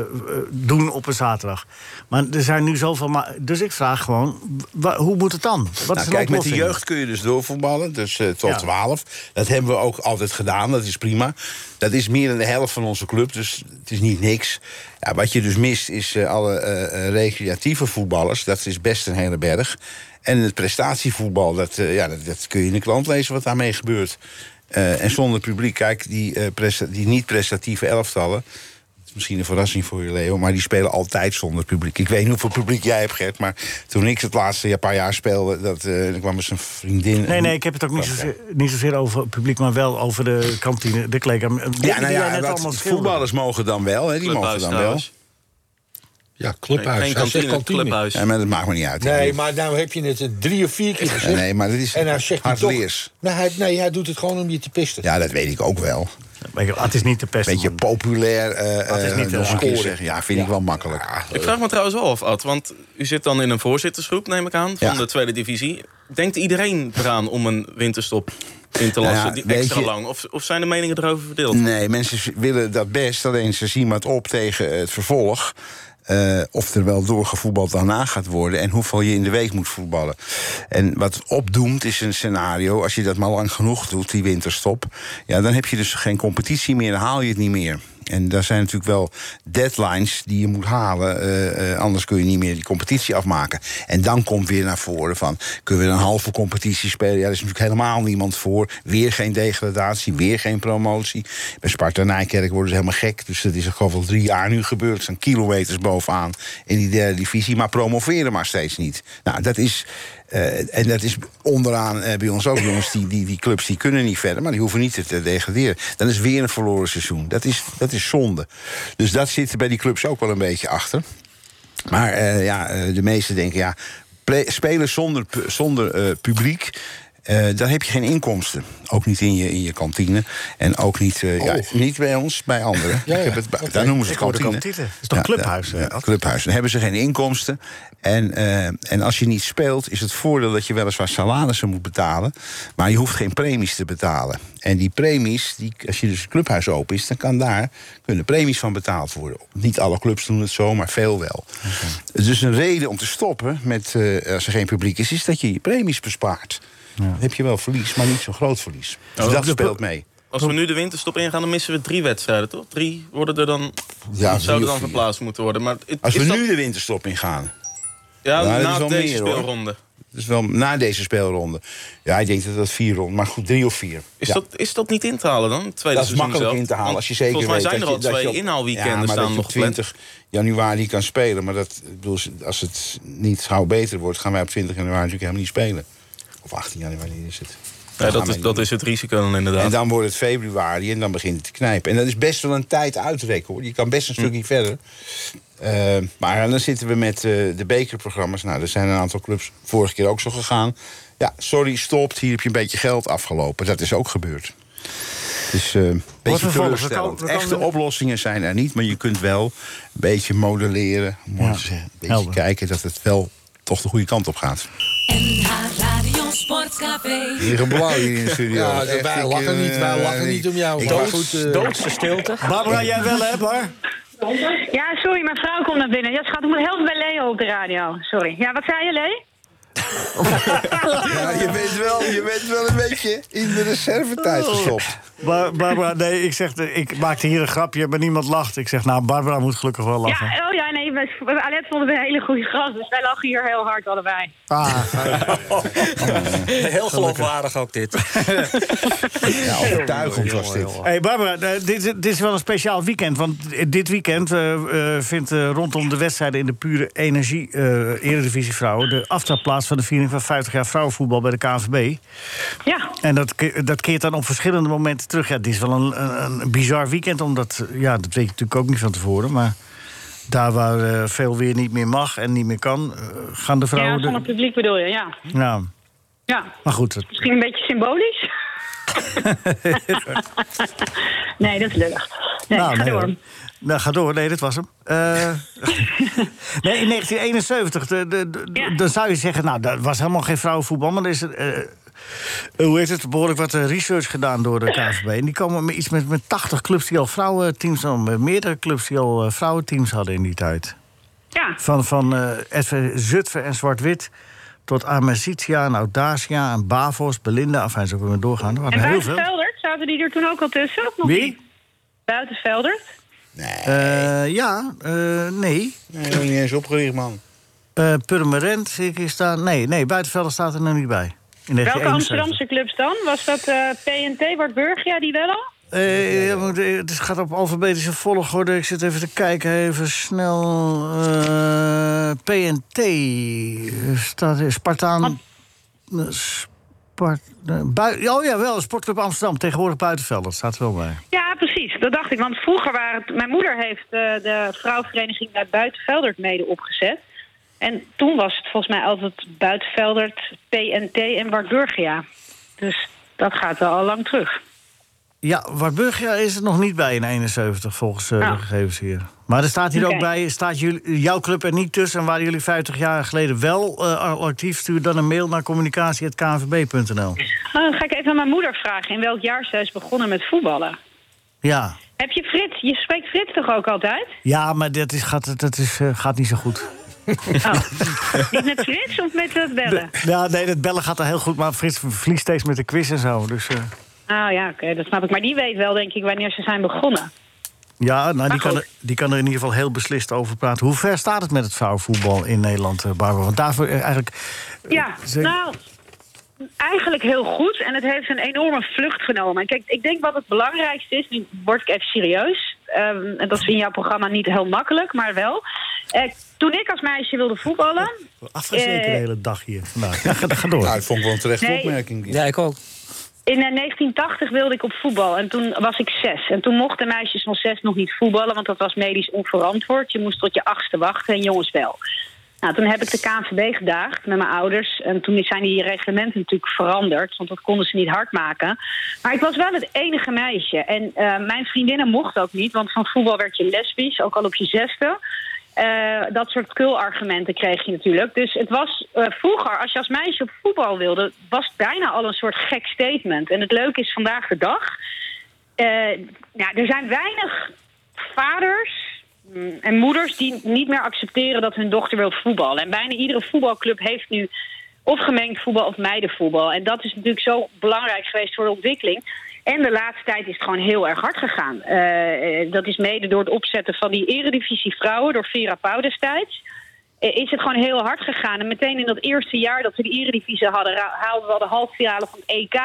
doen op een zaterdag. Maar er zijn nu zoveel... Maar, dus ik vraag gewoon, wa- hoe moet het dan? Wat is Nou, de kijk, met de oplossing? jeugd kun je dus doorvoetballen, dus eh, tot Ja. 12. Dat hebben we ook altijd gedaan, dat is prima. Dat is meer dan de helft van onze club, dus het is niet niks. Ja, wat je dus mist, is eh, alle eh, eh, recreatieve voetballers. Dat is best een hele berg. En het prestatievoetbal, dat, eh, ja, dat, dat kun je in de klant lezen wat daarmee gebeurt. Eh, en zonder publiek, kijk, die, eh, presta- die niet-prestatieve elftallen... Het is Misschien een verrassing voor je, Leo, maar die spelen altijd zonder publiek. Ik weet niet hoeveel publiek jij hebt, Gert, maar toen ik het laatste jaar- paar jaar speelde, dat, eh, dan kwam eens een vriendin. Nee, nee, ik heb het ook niet zozeer, niet zozeer over het publiek, maar wel over de kantine, de kleedkamer. Ja, nou Die jij ja, net dat- allemaal schilderde. voetballers mogen dan wel, hè, die mogen Clubhuis dan wel. trouwens. Ja, Nee, clubhuis. geen Hij zegt kantine, kantine. clubhuis. Ja, maar dat maakt me niet uit. Nee, maar nou heb je het eh, drie of vier keer Ja, gezegd. nee, maar dat is En hij zegt hij toch... hardleers. Nou, hij, nee, hij doet het gewoon om je te pisten. Ja, dat weet ik ook wel. Maar ik- ah, Het is niet te pesten. Beetje man. populair. eh Dat is eh, niet te nog een keer scoren. zeggen. Ja, vind ik wel makkelijk. Ik vraag me trouwens wel af, Ad, want u zit dan in een voorzittersgroep, neem ik aan, van Ja. de tweede divisie. Denkt iedereen eraan om een winterstop in te lassen, Nou ja, die weet extra je- lang? Of, of zijn de meningen erover verdeeld? Nee, mensen z- willen dat best, alleen ze zien wat op tegen het vervolg. eh, of er wel doorgevoetbald daarna gaat worden en hoeveel je in de week moet voetballen. En wat opdoemt is een scenario, als je dat maar lang genoeg doet, die winterstop, ja, dan heb je dus geen competitie meer, dan haal je het niet meer. En daar zijn natuurlijk wel deadlines die je moet halen. eh, eh, anders kun je niet meer die competitie afmaken. En dan komt weer naar voren van... kunnen we een halve competitie spelen? Ja, daar is natuurlijk helemaal niemand voor. Weer geen degradatie, weer geen promotie. Bij Sparta Nijkerk worden ze helemaal gek. Dus dat is gewoon wel drie jaar nu gebeurd. Er zijn kilometers bovenaan in die derde divisie. Maar promoveren maar steeds niet. Nou, dat is... eh, en dat is onderaan eh, bij ons ook jongens. Die, die, die clubs die kunnen niet verder, maar die hoeven niet te- te degraderen. Dan is weer een verloren seizoen. Dat is, dat is zonde. Dus dat zit er bij die clubs ook wel een beetje achter. Maar eh, ja, eh, de meesten denken, ja, play- spelen zonder, pu- zonder eh, publiek. eh dan heb je geen inkomsten. Ook niet in je, in je kantine. En ook niet, eh, ja, niet bij ons, bij anderen. Ja, ja. Ik heb het, bij- Oké. Daar noemen ze het Ik hoor de kantine. kantine. Is toch clubhuis, ja, eh, Ad? clubhuis. Dan hebben ze geen inkomsten. En, eh, en als je niet speelt, is het voordeel dat je weliswaar salarissen moet betalen. Maar je hoeft geen premies te betalen. En die premies, die, als je dus het clubhuis open is, dan kan daar, kunnen premies van betaald worden. Niet alle clubs doen het zo, maar veel wel. Dus een reden om te stoppen met, eh, als er geen publiek is, is dat je je premies bespaart. Dan heb je wel verlies, maar niet zo'n groot verlies. Dus dat Oh, de- speelt mee. Als we nu de winterstop ingaan, dan missen we drie wedstrijden, toch? Drie worden er dan, Ja, drie zouden of dan vier. verplaatst moeten worden. Maar het- Als is we dat- nu de winterstop ingaan, Ja, Nou, dat is na wel deze meer, hoor. speelronde. Dus wel na deze speelronde. Ja, ik denk dat dat vier ronden, maar goed, drie of vier. Is, Ja. dat, is dat niet in te halen dan? Het Tweede dat is seizoen makkelijk zelf? in te halen Want als je zeker Volgens weet mij zijn dat er al je- dat twee je op- inhaalweekenden ja, maar dat staan je nog op gepland. 20 januari kan spelen. Maar dat, ik bedoel, als het niet gauw beter wordt, gaan wij op 20 januari natuurlijk helemaal niet spelen. Of 18 januari is het. Ja, Dan gaan dat, wij is, niet dat is het risico dan inderdaad. en dan wordt het februari en dan begint het te knijpen. En dat is best wel een tijd uitrekken hoor. Je kan Hm. best een stukje verder. Eh, maar dan zitten we met eh, de bekerprogramma's. Nou, er zijn een aantal clubs vorige keer ook zo gegaan. Ja, sorry, stopt. Hier heb je een beetje geld afgelopen. Dat is ook gebeurd. Dus eh, een beetje vervolgens? We teleurstellend. komen- we Echte komen- oplossingen zijn er niet. Maar je kunt wel een beetje modelleren. om Ja, eens eh, Een beetje helder. kijken dat het wel toch de goede kant op gaat. NH Radio Sportcafé. Hier een blauw hier in de studio. Ja, dus Echt, wij ik, lachen eh, niet, wij lachen niet om jou. ik Maar was- goed, eh, Doodse stilte. Barbara, jij wel, hè, Bar? Ja, sorry, mijn vrouw komt naar binnen. Ja, schat, ik moet helpen bij Leo op de radio. Sorry. Ja, wat zei je, Lee? Ja, je bent wel, je bent wel een beetje in de reservetijd Oh. gestopt. Bar- Barbara, nee, ik, zeg, de- ik maakte hier een grapje, maar niemand lacht. Ik zeg, nou, Barbara moet gelukkig wel lachen. Ja, oh ja, nee, we, we- Alet vonden we een hele goede gast, dus wij lachen hier heel hard allebei. Ah, Heel geloofwaardig ook dit. Ja, overtuigend was dit. Hey Barbara, eh, dit, dit is wel een speciaal weekend. Want dit weekend eh, eh, vindt eh, rondom de wedstrijden in de pure energie eh Eredivisie Vrouwen de aftrap plaats van de viering van 50 jaar vrouwenvoetbal bij de KNVB. Ja, En dat, ke- dat keert dan op verschillende momenten terug. Ja, dit is wel een, een, een bizar weekend, omdat eh, ja, dat weet je natuurlijk ook niet van tevoren. Maar daar waar eh, veel weer niet meer mag en niet meer kan, eh, gaan de ja vrouwen. de- zonder publiek bedoel je, ja. ja, Ja, maar goed, het- misschien een beetje symbolisch. nee, dat is lullig. Nee, Nou, ga nee, door. hoor. Nou, ga door. Nee, dat was hem. Eh, nee, in 1971, de, de, de- Ja. dan zou je zeggen... nou, dat was helemaal geen vrouwenvoetbal, maar er is... er, eh, hoe heet het? Behoorlijk wat eh, research gedaan door de KVB. En die komen met iets met, met 80 clubs die al vrouwenteams hadden. Met meerdere clubs die al eh, vrouwenteams hadden in die tijd. Ja, Van, van eh, SV Zutphen en Zwart-Wit tot Amersitia en Audacia en Bavos, Belinda. Enfin, zo kunnen we doorgaan. en Er waren heel veel. Buitenveldert, zaten die er toen ook al tussen? Of nog niet? Wie? Buitenveldert? Eh, ja, eh, nee. Nee, nog niet eens opgericht, man. eh Purmerend zie ik hier staan. Nee, nee, Buitenvelder staat er nog niet bij. In Welke 1971. Amsterdamse clubs dan? Was dat eh PNT, Wartburgia, die wel al? Eh, ja, maar de- het gaat op alfabetische volgorde. Ik zit even te kijken, even snel. Eh, PNT. eh, Staat er, Spartaan. eh, Spart, eh, bui- oh ja, wel, Sportclub Amsterdam. Tegenwoordig Buitenvelder. Staat er wel bij. Ja, precies. Dat dacht ik. Want vroeger waren het... Mijn moeder heeft eh, de vrouwenvereniging bij Buitenveldert mede opgezet. En toen was het volgens mij altijd Buitenveldert, PNT en Wartburgia. Dus dat gaat wel al lang terug. Ja, Warburgia is er nog niet bij in 71, volgens eh, Nou. de gegevens hier. Maar er staat hier Oké. ook bij, staat jullie, jouw club er niet tussen... en waren jullie 50 jaar geleden wel eh, al actief... stuur dan een mail naar communicatie.kvb.nl. Nou, dan ga ik even aan mijn moeder vragen in welk jaar zij is begonnen met voetballen. Ja. Heb je Frits? Je spreekt Frits toch ook altijd? ja, maar dat, is, gaat, dat is, eh, gaat niet zo goed. Oh. Niet met Frits of met het bellen? Ja, nee, dat bellen gaat er heel goed... maar Frits verliest steeds met de quiz en zo. Dus eh, Oh Ah ja, oké, dat snap ik. Maar die weet wel, denk ik, wanneer ze zijn begonnen. Ja, nou, die, Maar kan goed. er, die kan er in ieder geval heel beslist over praten. Hoe ver staat het met het vrouwenvoetbal in Nederland, eh, Barbara? Want daarvoor eh, eigenlijk... Ja, Ze- nou, eigenlijk heel goed. En het heeft een enorme vlucht genomen. En kijk, ik denk wat het belangrijkste is, nu word ik even serieus. ehm, en dat is in jouw programma niet heel makkelijk, maar wel. Eh, toen ik als meisje wilde voetballen... Afgezeken de Eh. hele dag hier vandaag. Ja, ga, ga door. Nou, dat vond ik wel een terechte Nee. opmerking. Ja, ik ook. In eh, 1980 wilde ik op voetbal en toen was ik zes. En toen mochten meisjes van zes nog niet voetballen, want dat was medisch onverantwoord. Je moest tot je achtste wachten en jongens wel. Nou, toen heb ik de KNVB gedaagd met mijn ouders. En toen zijn die reglementen natuurlijk veranderd, want dat konden ze niet hard maken. Maar ik was wel het enige meisje. En eh, mijn vriendinnen mochten ook niet, want van voetbal werd je lesbisch, ook al op je zesde. Eh, dat soort kulargumenten kreeg je natuurlijk. Dus het was eh, vroeger, als je als meisje op voetbal wilde, was het bijna al een soort gek statement. En het leuke is vandaag de dag. eh, nou, er zijn weinig vaders mm, en moeders die niet meer accepteren dat hun dochter wil voetballen. En bijna iedere voetbalclub heeft nu of gemengd voetbal of meidenvoetbal. En dat is natuurlijk zo belangrijk geweest voor de ontwikkeling. En de laatste tijd is het gewoon heel erg hard gegaan. Eh, eh, dat is mede door het opzetten van die eredivisie vrouwen door Vera Pauw destijds. Eh, is het gewoon heel hard gegaan. En meteen in dat eerste jaar dat we de eredivisie hadden, ra- haalden we al de halve finale van het EK.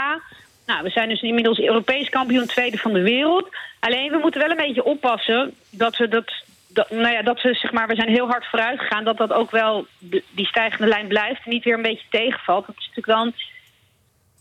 Nou, we zijn dus inmiddels Europees kampioen tweede van de wereld. Alleen we moeten wel een beetje oppassen dat we dat. dat nou ja, dat we zeg maar, we zijn heel hard vooruit gegaan. Dat dat ook wel b- die stijgende lijn blijft. En niet weer een beetje tegenvalt. Dat is natuurlijk wel een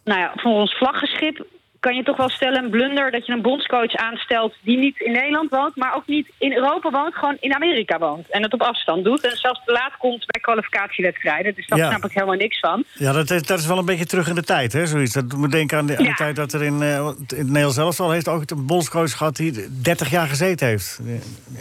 nou ja, voor ons vlaggenschip kan je toch wel stellen een blunder dat je een bondscoach aanstelt die niet in Nederland woont, maar ook niet in Europa woont, gewoon in Amerika woont. En het op afstand doet en zelfs te laat komt bij kwalificatiewedstrijden. Dus daar Ja. snap ik helemaal niks van. Ja, dat is, dat is wel een beetje terug in de tijd, hè, zoiets. Dat doet me denken aan de, aan de Ja. tijd dat er in, eh, in het Nederlands zelfs al heeft ook een bondscoach gehad die 30 jaar gezeten heeft.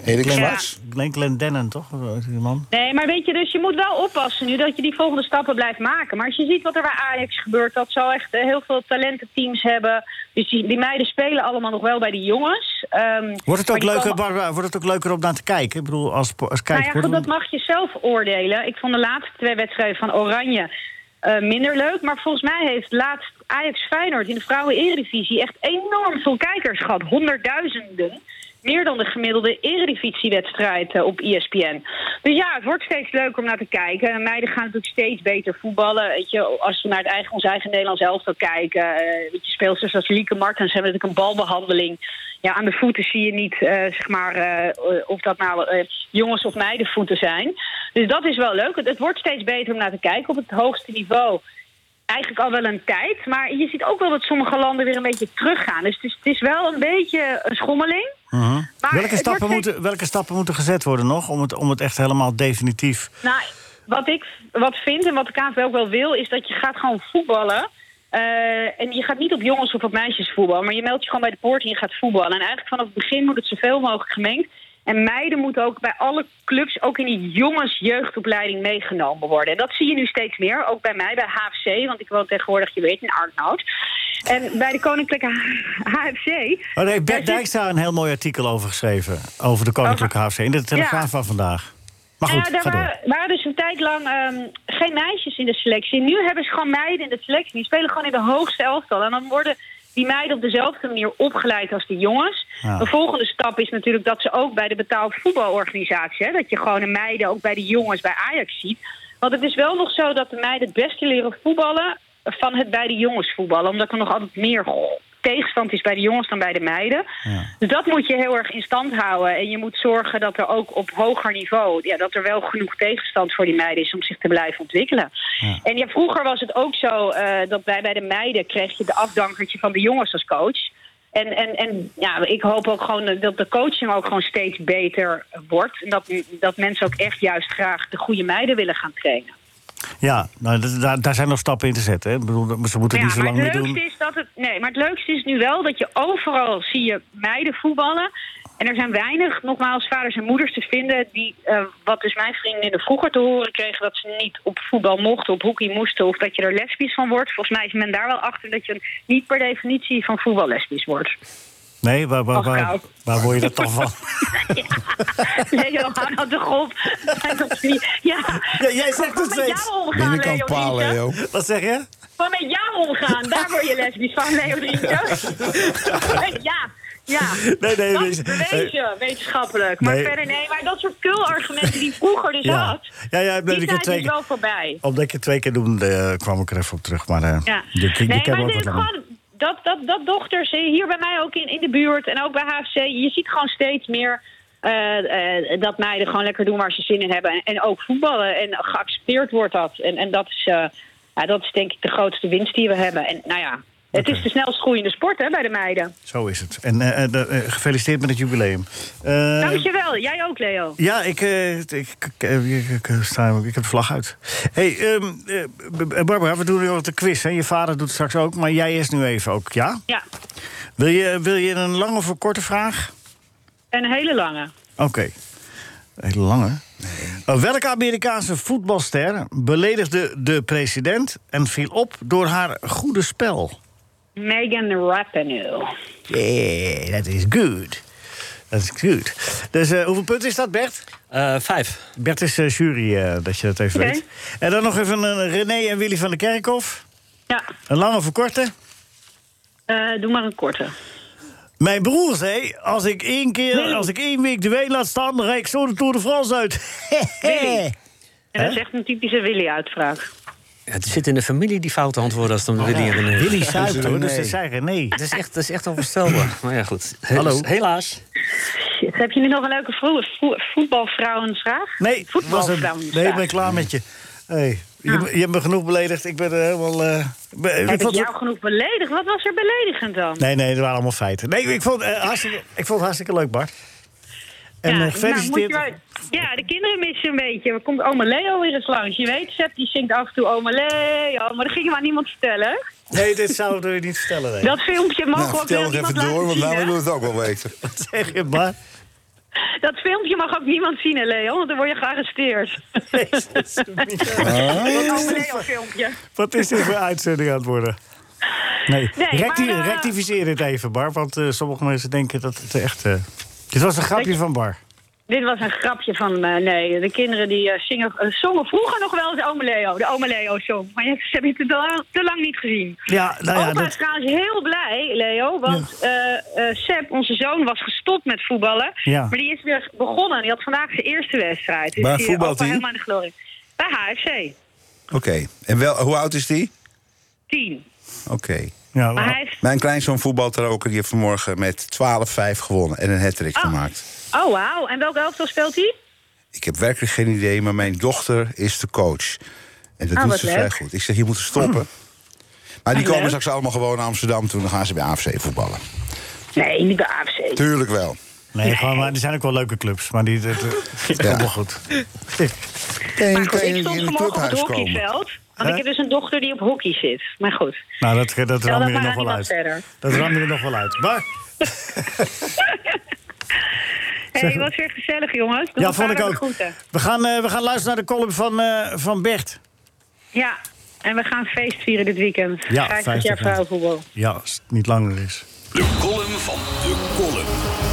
Erik Ja. Swarts? Glenn, Glenn Dennen, toch? Of zo is die man? Nee, maar weet je, dus je moet wel oppassen nu dat je die volgende stappen blijft maken. Maar als je ziet wat er bij Ajax gebeurt, dat zou echt eh, heel veel talententeams hebben. Dus die, die meiden spelen allemaal nog wel bij die jongens. Ehm, Wordt het, maar ook die leuker, komen Barbara, wordt het ook leuker om naar te kijken? Ik bedoel, als, po- als Nou ja, kijker... goed, wordt dat het- mag je zelf oordelen. Ik vond de laatste twee wedstrijden van Oranje eh, minder leuk. Maar volgens mij heeft laatst Ajax Feyenoord in de vrouwen-eredivisie... echt enorm veel kijkers gehad. Honderdduizenden. Meer dan de gemiddelde eredivisiewedstrijd eh, op ESPN. Dus ja, het wordt steeds leuker om naar te kijken. En meiden gaan natuurlijk steeds beter voetballen. Weet je, als we naar het eigen, ons eigen Nederlands elftal kijken... eh weet je, speelsters als Lieke Martens hebben natuurlijk een balbehandeling ja, aan de voeten zie je niet, eh, zeg maar, eh, of dat nou eh, jongens of meidenvoeten zijn. Dus dat is wel leuk. Het, het wordt steeds beter om naar te kijken op het hoogste niveau. Eigenlijk al wel een tijd, maar je ziet ook wel dat sommige landen weer een beetje teruggaan. Dus het is, het is wel een beetje een schommeling. Maar Mhm. Welke het stappen, wordt steeds- moeten, welke stappen moeten gezet worden nog om het, om het echt helemaal definitief... Nou, wat ik wat vind en wat de KNVB ook wel wil, is dat je gaat gewoon voetballen. Eh, en je gaat niet op jongens of op meisjes voetballen, maar je meldt je gewoon bij de poort en je gaat voetballen. En eigenlijk vanaf het begin moet het zoveel mogelijk gemengd. En meiden moeten ook bij alle clubs, ook in die jongensjeugdopleiding, meegenomen worden. En dat zie je nu steeds meer, ook bij mij, bij HFC, want ik woon tegenwoordig, je weet, in Arnhout. En bij de Koninklijke HFC. Oh, daar heeft daar Bert zit- Dijkstra een heel mooi artikel over geschreven. Over de Koninklijke HFC. In de Telegraaf Ja. van vandaag. Maar goed, Nou ja, ga er wa- door. waren, dus een tijd lang ehm, geen meisjes in de selectie. Nu hebben ze gewoon meiden in de selectie. Die spelen gewoon in de hoogste elftal. En dan worden die meiden op dezelfde manier opgeleid als de jongens. Ja. De volgende stap is natuurlijk dat ze ook bij de betaald voetbalorganisatie... Hè, dat je gewoon de meiden ook bij de jongens bij Ajax ziet. Want het is wel nog zo dat de meiden het beste leren voetballen... van het bij de jongens voetballen. Omdat er nog altijd meer tegenstand is bij de jongens dan bij de meiden. Dus dat moet je heel erg in stand houden. En je moet zorgen dat er ook op hoger niveau... Ja, dat er wel genoeg tegenstand voor die meiden is om zich te blijven ontwikkelen. En ja, vroeger was het ook zo eh, dat wij bij de meiden... kreeg je de afdankertje van de jongens als coach... En, en, en ja, ik hoop ook gewoon dat de coaching ook gewoon steeds beter wordt. En dat, dat mensen ook echt juist graag de goede meiden willen gaan trainen. Ja, nou, d- daar, daar zijn nog stappen in te zetten. Hè. Ik bedoel, ze moeten niet zo Nou maar lang meer het leukste doen. Is dat het, nee, maar het leukste is nu wel dat je overal zie je meiden voetballen. En er zijn weinig, nogmaals, vaders en moeders te vinden... die, eh, wat dus mijn vriendinnen vroeger te horen kregen... dat ze niet op voetbal mochten, op hockey moesten... of dat je er lesbisch van wordt. Volgens mij is men daar wel achter dat je niet per definitie van voetbal lesbisch wordt. Nee, waar, waar, Och, waar, nou. waar word je dat dan van? Leo, hou nou toch op. Dat is niet- ja. Ja, jij zegt het Gewoon met steeds. jou omgaan, Binnenkant Leo paal, Driessen. Leo. Wat zeg je? Van met jou omgaan, daar word je lesbisch van, Leo Driessen. ja, Ja, Nee, nee, dat nee. is bewezen, wetenschappelijk. Maar Nee. verder nee, maar dat soort kulargumenten die ik vroeger dus Ja. had, Ja, ja, ik bleef die ik het zijn twee dus keer- wel voorbij. Omdat ik het twee keer doemde, eh, kwam ik er even op terug. Maar eh Ja. de, ik, nee, ik heb maar ook dit is wat langer. gewoon, dat, dat, dat dochters eh, hier bij mij ook in, in de buurt en ook bij HFC, je ziet gewoon steeds meer eh, eh, dat meiden gewoon lekker doen waar ze zin in hebben. En, en ook voetballen en geaccepteerd wordt dat. En, en dat, is, eh, ja, dat is denk ik de grootste winst die we hebben. En nou ja, het Oké. is de snelst groeiende sport hè, bij de meiden. Zo is het. En eh, eh, de- eh, gefeliciteerd met het jubileum. Eh, Dankjewel, jij ook Leo. ja, ik, eh, ik, ik, ik- ik- ik sta, ik heb de vlag uit. hey, ehm, eh, B- B- Barbara, we doen nu al de quiz. Hè? Je vader doet straks ook, maar jij is nu even ook, ja? Ja, Wil je, wil je een lange of een korte vraag? een hele lange. Oké. Hele lange. Eh, Welke Amerikaanse voetbalster beledigde de president en viel op door haar goede spel? Megan Rapinoe. Yeah, dat is good. Dat is goed. Dus eh, hoeveel punten is dat, Bert? Eh, vijf. Bert is eh, jury, eh, dat je dat even Oké. weet. En dan nog even een René en Willy van der Kerkhof. Ja, Een lange of een korte? eh, doe maar een korte. Mijn broer zei, als ik één keer, als ik één week de wijn laat staan... dan rijd ik zo de Tour de France uit. Willy. En dat is echt een typische Willy-uitvraag. Ja, het zit in de familie die foute antwoorden als dan Willy en René. Willy zuipt, hoor, dus René. dat zei René. Dat is echt, dat is echt onvoorstelbaar. Maar ja, goed. Helaas. Hallo. Helaas. Shit, Heb je nu nog een leuke vro- vo- voetbalvrouwenvraag? Nee, was het, voetbalvrouwenvraag. nee, ik ben klaar met je. Hey, je, hebt- je hebt me genoeg beledigd. Ik ben er helemaal... eh, be- ik Heb Nou, ik vond het- jou genoeg beledigd? Wat was er beledigend dan? Nee, nee, dat waren allemaal feiten. Nee, ik vond, eh, hartstikke, ik vond het hartstikke leuk, Bart. En eh, nou, gefeliciteerd. moet je wel- ja, de kinderen missen een beetje. Er komt oma Leo weer eens langs. Je weet, Sepp die zingt af en toe oma Leo. Maar dat ging je maar niemand vertellen. nee, dit zouden we niet vertellen. Nee. Dat filmpje mogen Nou, we ook vertel weer nog even niemand door, want laten zien, wij hè? willen het ook wel weten. zeg je maar. Dat filmpje mag ook niemand zien, hè, Leo, want dan word je gearresteerd. Ah. Dat Leo-filmpje. Wat is dit voor uitzending aan het worden? Nee, Nee, recti- maar, eh, rectificeer dit even, Bar. Want eh, sommige mensen denken dat het echt... eh, dit was een grapje van Bar. Dit was een grapje van, eh, nee, de kinderen die eh, zingen, eh, zongen vroeger nog wel de Ome Leo, de Ome Leo-song. Maar je- ze hebben het te lang, te lang niet gezien. Ja, nou ja, Opa dat- is trouwens heel blij, Leo, want eh eh, Sepp, onze zoon, was gestopt met voetballen. Ja. Maar die is weer begonnen. Die had vandaag zijn eerste wedstrijd. Dus Waar die, eh, voetbalt opa hij? helemaal in de glorie. Bij HFC, Oké, en wel, hoe oud is die? 10. Oké. ja, Maar hij heeft... Mijn kleinzoon voetbalt er ook en die heeft vanmorgen met 12-5 gewonnen en een hat-trick Oh. gemaakt. Oh, wauw. En welke elftal speelt hij? Ik heb werkelijk geen idee, maar mijn dochter is de coach. En dat Ah, doet wat ze vrij leuk. goed. Ik zeg, je moet stoppen. Maar die Ah, komen leuk. straks allemaal gewoon naar Amsterdam toe. Dan gaan ze bij AFC voetballen. Nee, niet bij AFC. Tuurlijk wel. nee, gewoon, maar er zijn ook wel leuke clubs. Maar die, dat, dat Ja. komt wel goed. Kan je- Maar goed, kan je ik stond in het vanmorgen op het clubhuis komen? hockeyveld. Want ik Hè? heb dus een dochter die op hockey zit. Maar goed. Nou, dat, dat Stel ram dat je er maar nog aan wel uit. iemand verder. Dat ram je er nog wel uit. Bar, Hé, hey, wat weer gezellig, jongens. Doe ja, elkaar vond ik de ook. groeten. We gaan, eh, we gaan luisteren naar de column van, eh, van Bert. Ja, en we gaan feest vieren dit weekend. Ja, 50 50 jaar jaar. vrouwenvoetbal. Ja, als het niet langer is. De column van de column.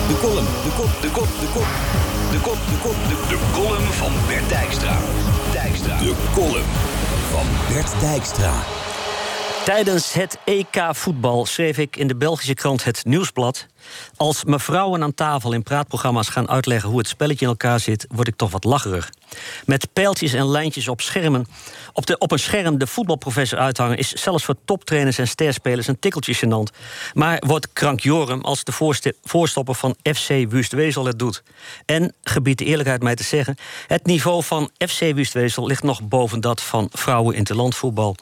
De column, de kop, de kop, de kop. De kop, de kop, de De column van Bert Dijkstra. Dijkstra. De column van Bert Dijkstra. Tijdens het EK voetbal schreef ik in de Belgische krant Het Nieuwsblad. Als mevrouwen aan tafel in praatprogramma's gaan uitleggen hoe het spelletje in elkaar zit, word ik toch wat lacherig. Met pijltjes en lijntjes op schermen, op, de, op een scherm de voetbalprofessor uithangen, is zelfs voor toptrainers en sterspelers een tikkeltje gênant. Maar wordt krankjorum als de voorste- voorstopper van FC Wustwezel het doet. En, gebied de eerlijkheid mij te zeggen, het niveau van FC Wustwezel ligt nog boven dat van vrouwen in landvoetbal.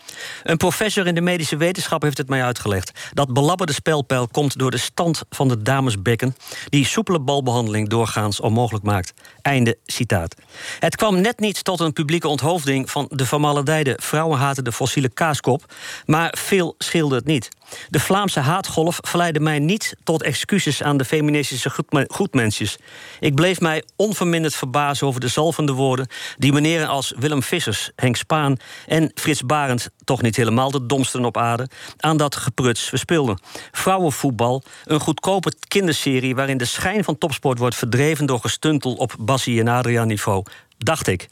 Een professor in de medische wetenschap heeft het mij uitgelegd. Dat belabberde spelpijl komt door de stand van de damesbekken... die soepele balbehandeling doorgaans onmogelijk maakt. Einde citaat. Het kwam net niet tot een publieke onthoofding... van de vermaledijde vrouwenhatende fossiele kaaskop... maar veel scheelde het niet. De Vlaamse haatgolf verleidde mij niet tot excuses... aan de feministische goedme- goedmensjes. Ik bleef mij onverminderd verbazen over de zalvende woorden... die meneren als Willem Vissers, Henk Spaan en Frits Barend... toch niet helemaal de domsten op aarde... aan dat gepruts verspilden. Vrouwenvoetbal, een goedkope kinderserie... waarin de schijn van topsport wordt verdreven... door gestuntel op Bassie en Adriaan niveau... Dacht ik.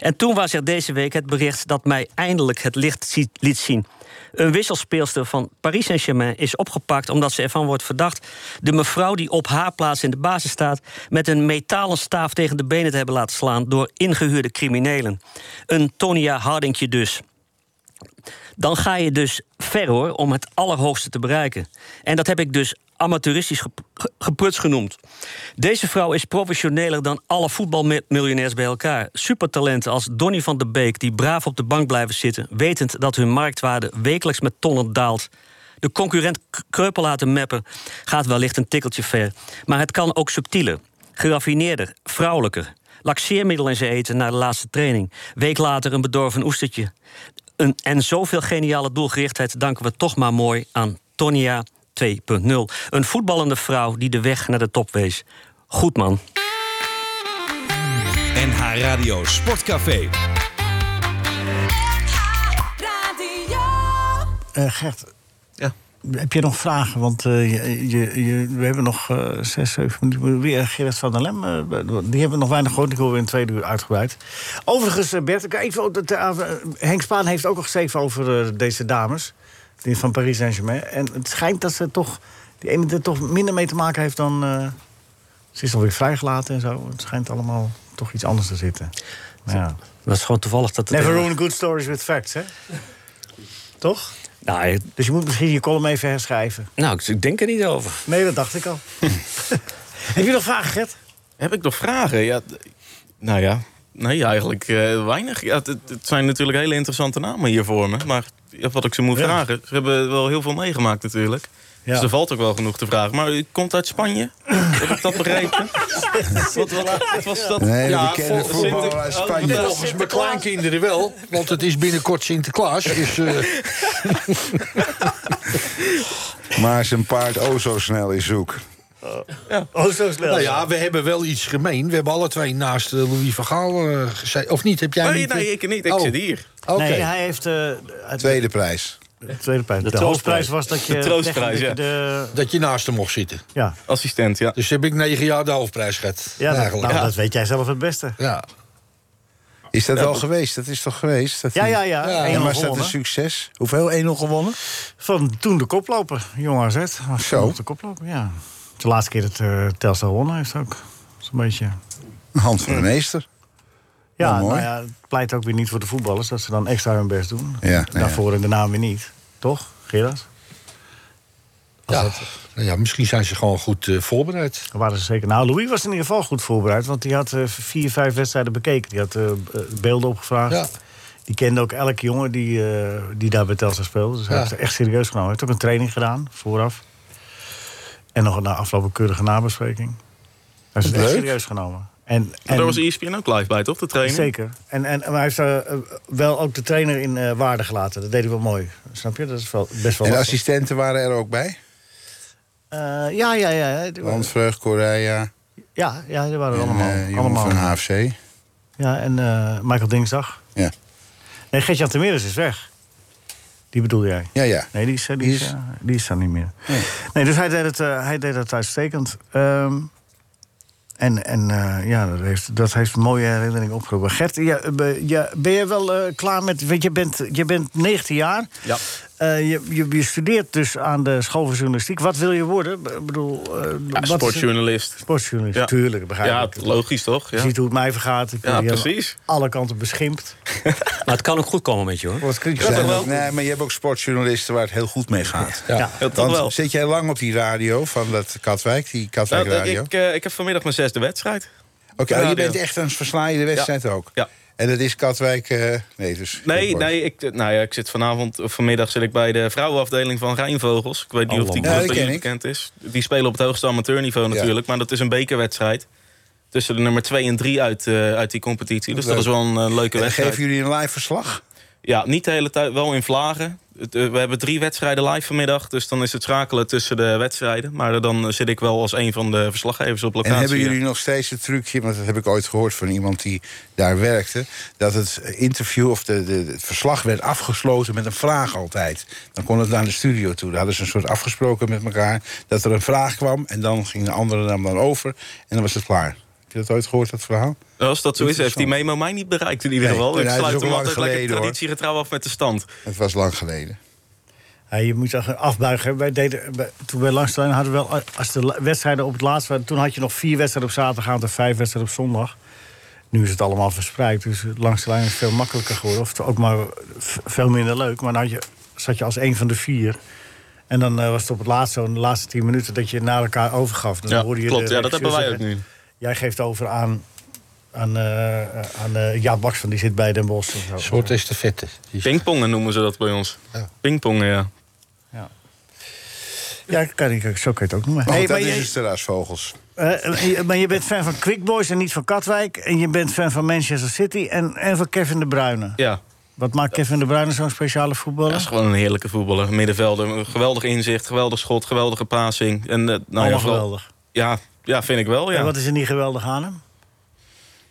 En toen was er deze week het bericht dat mij eindelijk het licht zie- liet zien. Een wisselspeelster van Paris Saint-Germain is opgepakt omdat ze ervan wordt verdacht de mevrouw die op haar plaats in de basis staat met een metalen staaf tegen de benen te hebben laten slaan door ingehuurde criminelen. Een Tonia Hardinkje dus dan ga je dus ver hoor om het allerhoogste te bereiken. En dat heb ik dus amateuristisch gep- ge- gepruts genoemd. Deze vrouw is professioneler dan alle voetbalmiljonairs bij elkaar. Supertalenten als Donny van de Beek die braaf op de bank blijven zitten, wetend dat hun marktwaarde wekelijks met tonnen daalt. De concurrent K- kreupel laten meppen gaat wellicht een tikkeltje ver. Maar het kan ook subtieler, geraffineerder, vrouwelijker. Laxeermiddel in zijn eten na de laatste training. Week later een bedorven oestertje. Een, en zoveel geniale doelgerichtheid danken we toch maar mooi aan Tonia 2.0. Een voetballende vrouw die de weg naar de top wees. Goed man. NH Radio Sportcafé. Eh, Gert, heb je nog vragen? Want eh, je, je, je- we hebben nog eh, zes, zeven minuten. Weer Gerrit van der Lem, eh, die hebben we nog weinig gehoord. Ik hoor weer in tweede uur uitgebreid. Overigens, eh, Bert, ik even, op dat, eh, Henk Spaan heeft ook al geschreven over eh, deze dames. Die van Paris Saint-Germain. En het schijnt dat ze toch, die ene er toch minder mee te maken heeft dan... eh, ze is alweer vrijgelaten en zo. Het schijnt allemaal toch iets anders te zitten. Maar ja. Dat is gewoon toevallig dat het... Never ruin good stories with facts, hè? Toch? Dus je moet misschien je column even herschrijven. Nou, ik- ik denk er niet over. Nee, dat dacht ik al. Heb je nog vragen, Gert? Heb ik nog vragen? Ja, d- nou ja, nee, eigenlijk eh, weinig. Ja, het, het- het zijn natuurlijk hele interessante namen hier voor me. Maar ja, wat ik ze moet Ja. vragen... Ze hebben wel heel veel meegemaakt natuurlijk. Ja. Dus er valt ook wel genoeg te vragen. Maar u komt uit Spanje? Heb ik dat begrepen? wat, wat, wat was dat? Nee, we ja, kennen vol- voetballer Sinter- uit oh, Spanje. ja, Volgens mijn kleinkinderen wel, want het is binnenkort Sinterklaas. Dus, eh, Maar zijn paard o zo snel is zoek. Oh, zo snel. nou ja, we hebben wel iets gemeen. We hebben alle twee naast eh, Louis van Gaal eh, gezeten. Of niet? Heb jij Nee, niet, eh? nee, ik niet. Ik Oh, zit hier. Oké. Nee, hij heeft eh, het- Tweede prijs. de tweede prijs. De, hoofdprijs was dat je... De troostprijs, tegen ja. De, Dat je naast hem mocht zitten. ja. Assistent, ja. Dus heb ik negen jaar de hoofdprijs gehad. Ja, dat, eigenlijk. nou, dat weet jij zelf het beste. ja. Is dat al geweest? Dat is toch geweest? Dat Ja, hij- ja, ja. Ja, En Eén was dat gewonnen. een succes? Hoeveel? 1-0 gewonnen? Van toen de koploper, jong AZ. Was Zo. toen De koploper, ja. De laatste keer dat eh Telstar gewonnen heeft ook. Zo'n beetje... Hand van de meester. Ja, Nou, mooi. nou ja, het pleit ook weer niet voor de voetballers dat ze dan extra hun best doen. Ja, nou ja. Daarvoor en daarna weer niet. Toch, Gerard? Ja. Nou ja, misschien zijn ze gewoon goed eh, voorbereid. Dan waren ze zeker. Nou, Louis was in ieder geval goed voorbereid, want die had eh, vier, vijf wedstrijden bekeken. Die had eh, be- beelden opgevraagd. Ja. Die kende ook elke jongen die, eh, die daar bij Telstra speelde. Dus hij Ja. heeft het echt serieus genomen. Hij heeft ook een training gedaan vooraf. En nog een afloop een keurige nabespreking. Hij heeft het echt Leuk. serieus genomen. En, En en daar was E ESPN ook live bij, toch? De training? Zeker. En, en, maar hij heeft eh, eh, wel ook de trainer in eh, waarde gelaten. Dat deed hij wel mooi. Snap je? Dat is wel best wel. En de lastig. assistenten waren er ook bij? Eh, ja, ja, ja. Landvreugd, Correa Ja, ja, die waren er en allemaal. eh, jongen allemaal. van HFC. Ja, en eh, Michael Dingsdag. Ja, Nee, Gertjan Temeris is weg. Die bedoel jij? ja. ja. Nee, die is, eh, die Die is, is- eh, die is dan niet meer. Nee. Nee, dus hij deed het, eh, hij deed het uitstekend. Ehm, en en eh, ja, dat heeft, dat heeft een mooie herinnering opgeroepen. Gert, ja, eh, ben- ja, ben je wel eh, klaar met... Want je bent, je bent 19 jaar. Ja. Eh, je, je, je studeert dus aan de school van journalistiek. Wat wil je worden? Ik bedoel, eh, Ja, wat is het? sportjournalist. Sportjournalist, Ja. tuurlijk, Ja, begrijp ik. logisch, toch? Je Ja, ziet hoe het mij vergaat. Ik word ja hier aan precies. alle kanten beschimpt. Maar het kan ook goed komen met je, hoor. Wordt kritisch. Zijn toch er- wel? nee, maar je hebt ook sportjournalisten waar het heel goed mee gaat. Ja. Ja, toch wel. Want zit jij lang op die radio van dat Katwijk, die Katwijk Nou, radio? ik, eh, ik heb vanmiddag mijn zesde wedstrijd. Oké, oh, je radio. bent echt aan het verslaan je de wedstrijd ook. Ja. En dat is Katwijk. eh, nee, dus. Nee, Kort. nee, ik, nou ja, ik zit vanavond of vanmiddag zit ik bij de vrouwenafdeling van Rijnvogels. Ik weet niet Oh, of die man. Ja, club die ken bij jullie ik. bekend is. Die spelen op het hoogste amateurniveau Ja. natuurlijk. Maar dat is een bekerwedstrijd. Tussen de nummer 2 en 3 uit, eh, uit die competitie. Dus dat Leuk. is wel een eh, leuke En dan wedstrijd. geven jullie een live verslag? Ja, niet de hele tijd, wel in vlagen. Het, eh, We hebben drie wedstrijden live vanmiddag. Dus dan is het schakelen tussen de wedstrijden. Maar dan eh, zit ik wel als een van de verslaggevers op locatie. En hebben ja. jullie nog steeds het trucje, want dat heb ik ooit gehoord van iemand die daar werkte, dat het interview of de, de, het verslag werd afgesloten met een vraag altijd. Dan kon het naar de studio toe. Daar hadden ze een soort afgesproken met elkaar dat er een vraag kwam en dan ging de andere nam dan over en dan was het klaar. Heb je dat ooit gehoord, dat verhaal? Als dat zo is, heeft die memo mij niet bereikt in ieder Nee, geval. nee, Ik dat is sluit ook hem lang altijd lekker geleden, hoor. traditiegetrouw af met de stand. Het was lang geleden. Ja, je moet zeggen, afbuigen. Wij deden, bij- toen wij langs zijn hadden we wel... Als de la- wedstrijden op het laatst waren... Toen had je nog vier wedstrijden op zaterdagavond en vijf wedstrijden op zondag. Nu is het allemaal verspreid. Dus langs de lijn is veel makkelijker geworden. Of het ook maar v- veel minder leuk. Maar nou had je, zat je als één van de vier... En dan eh, was het op het laatst, zo in de laatste tien minuten, dat je naar elkaar overgaf. Dan Ja, hoorde je klopt. de Ja, dat hebben wij ook regisseur nu. zeggen, Jij geeft over aan, aan, eh, aan eh, Jaap Baks, van die zit bij Den Bosch. Een soort estafette. Pingpongen noemen ze dat bij ons. Pingpongen, ja. Ja, kan ik, zo kan je het ook noemen. Maar Hey, goed, dat maar is je- dus terrasvogels. Eh, je- maar je bent fan van Quick Boys en niet van Katwijk. En je bent fan van Manchester City en, en van Kevin De Bruyne. Ja. Wat maakt Kevin De Bruyne zo'n speciale voetballer? Dat is gewoon een heerlijke voetballer. Middenvelder. Een Geweldig inzicht, geweldig schot, geweldige passing. En, eh, nou ja, Allemaal vooral- geweldig. Ja, ja, vind ik wel, ja. En wat is er niet geweldig aan hem?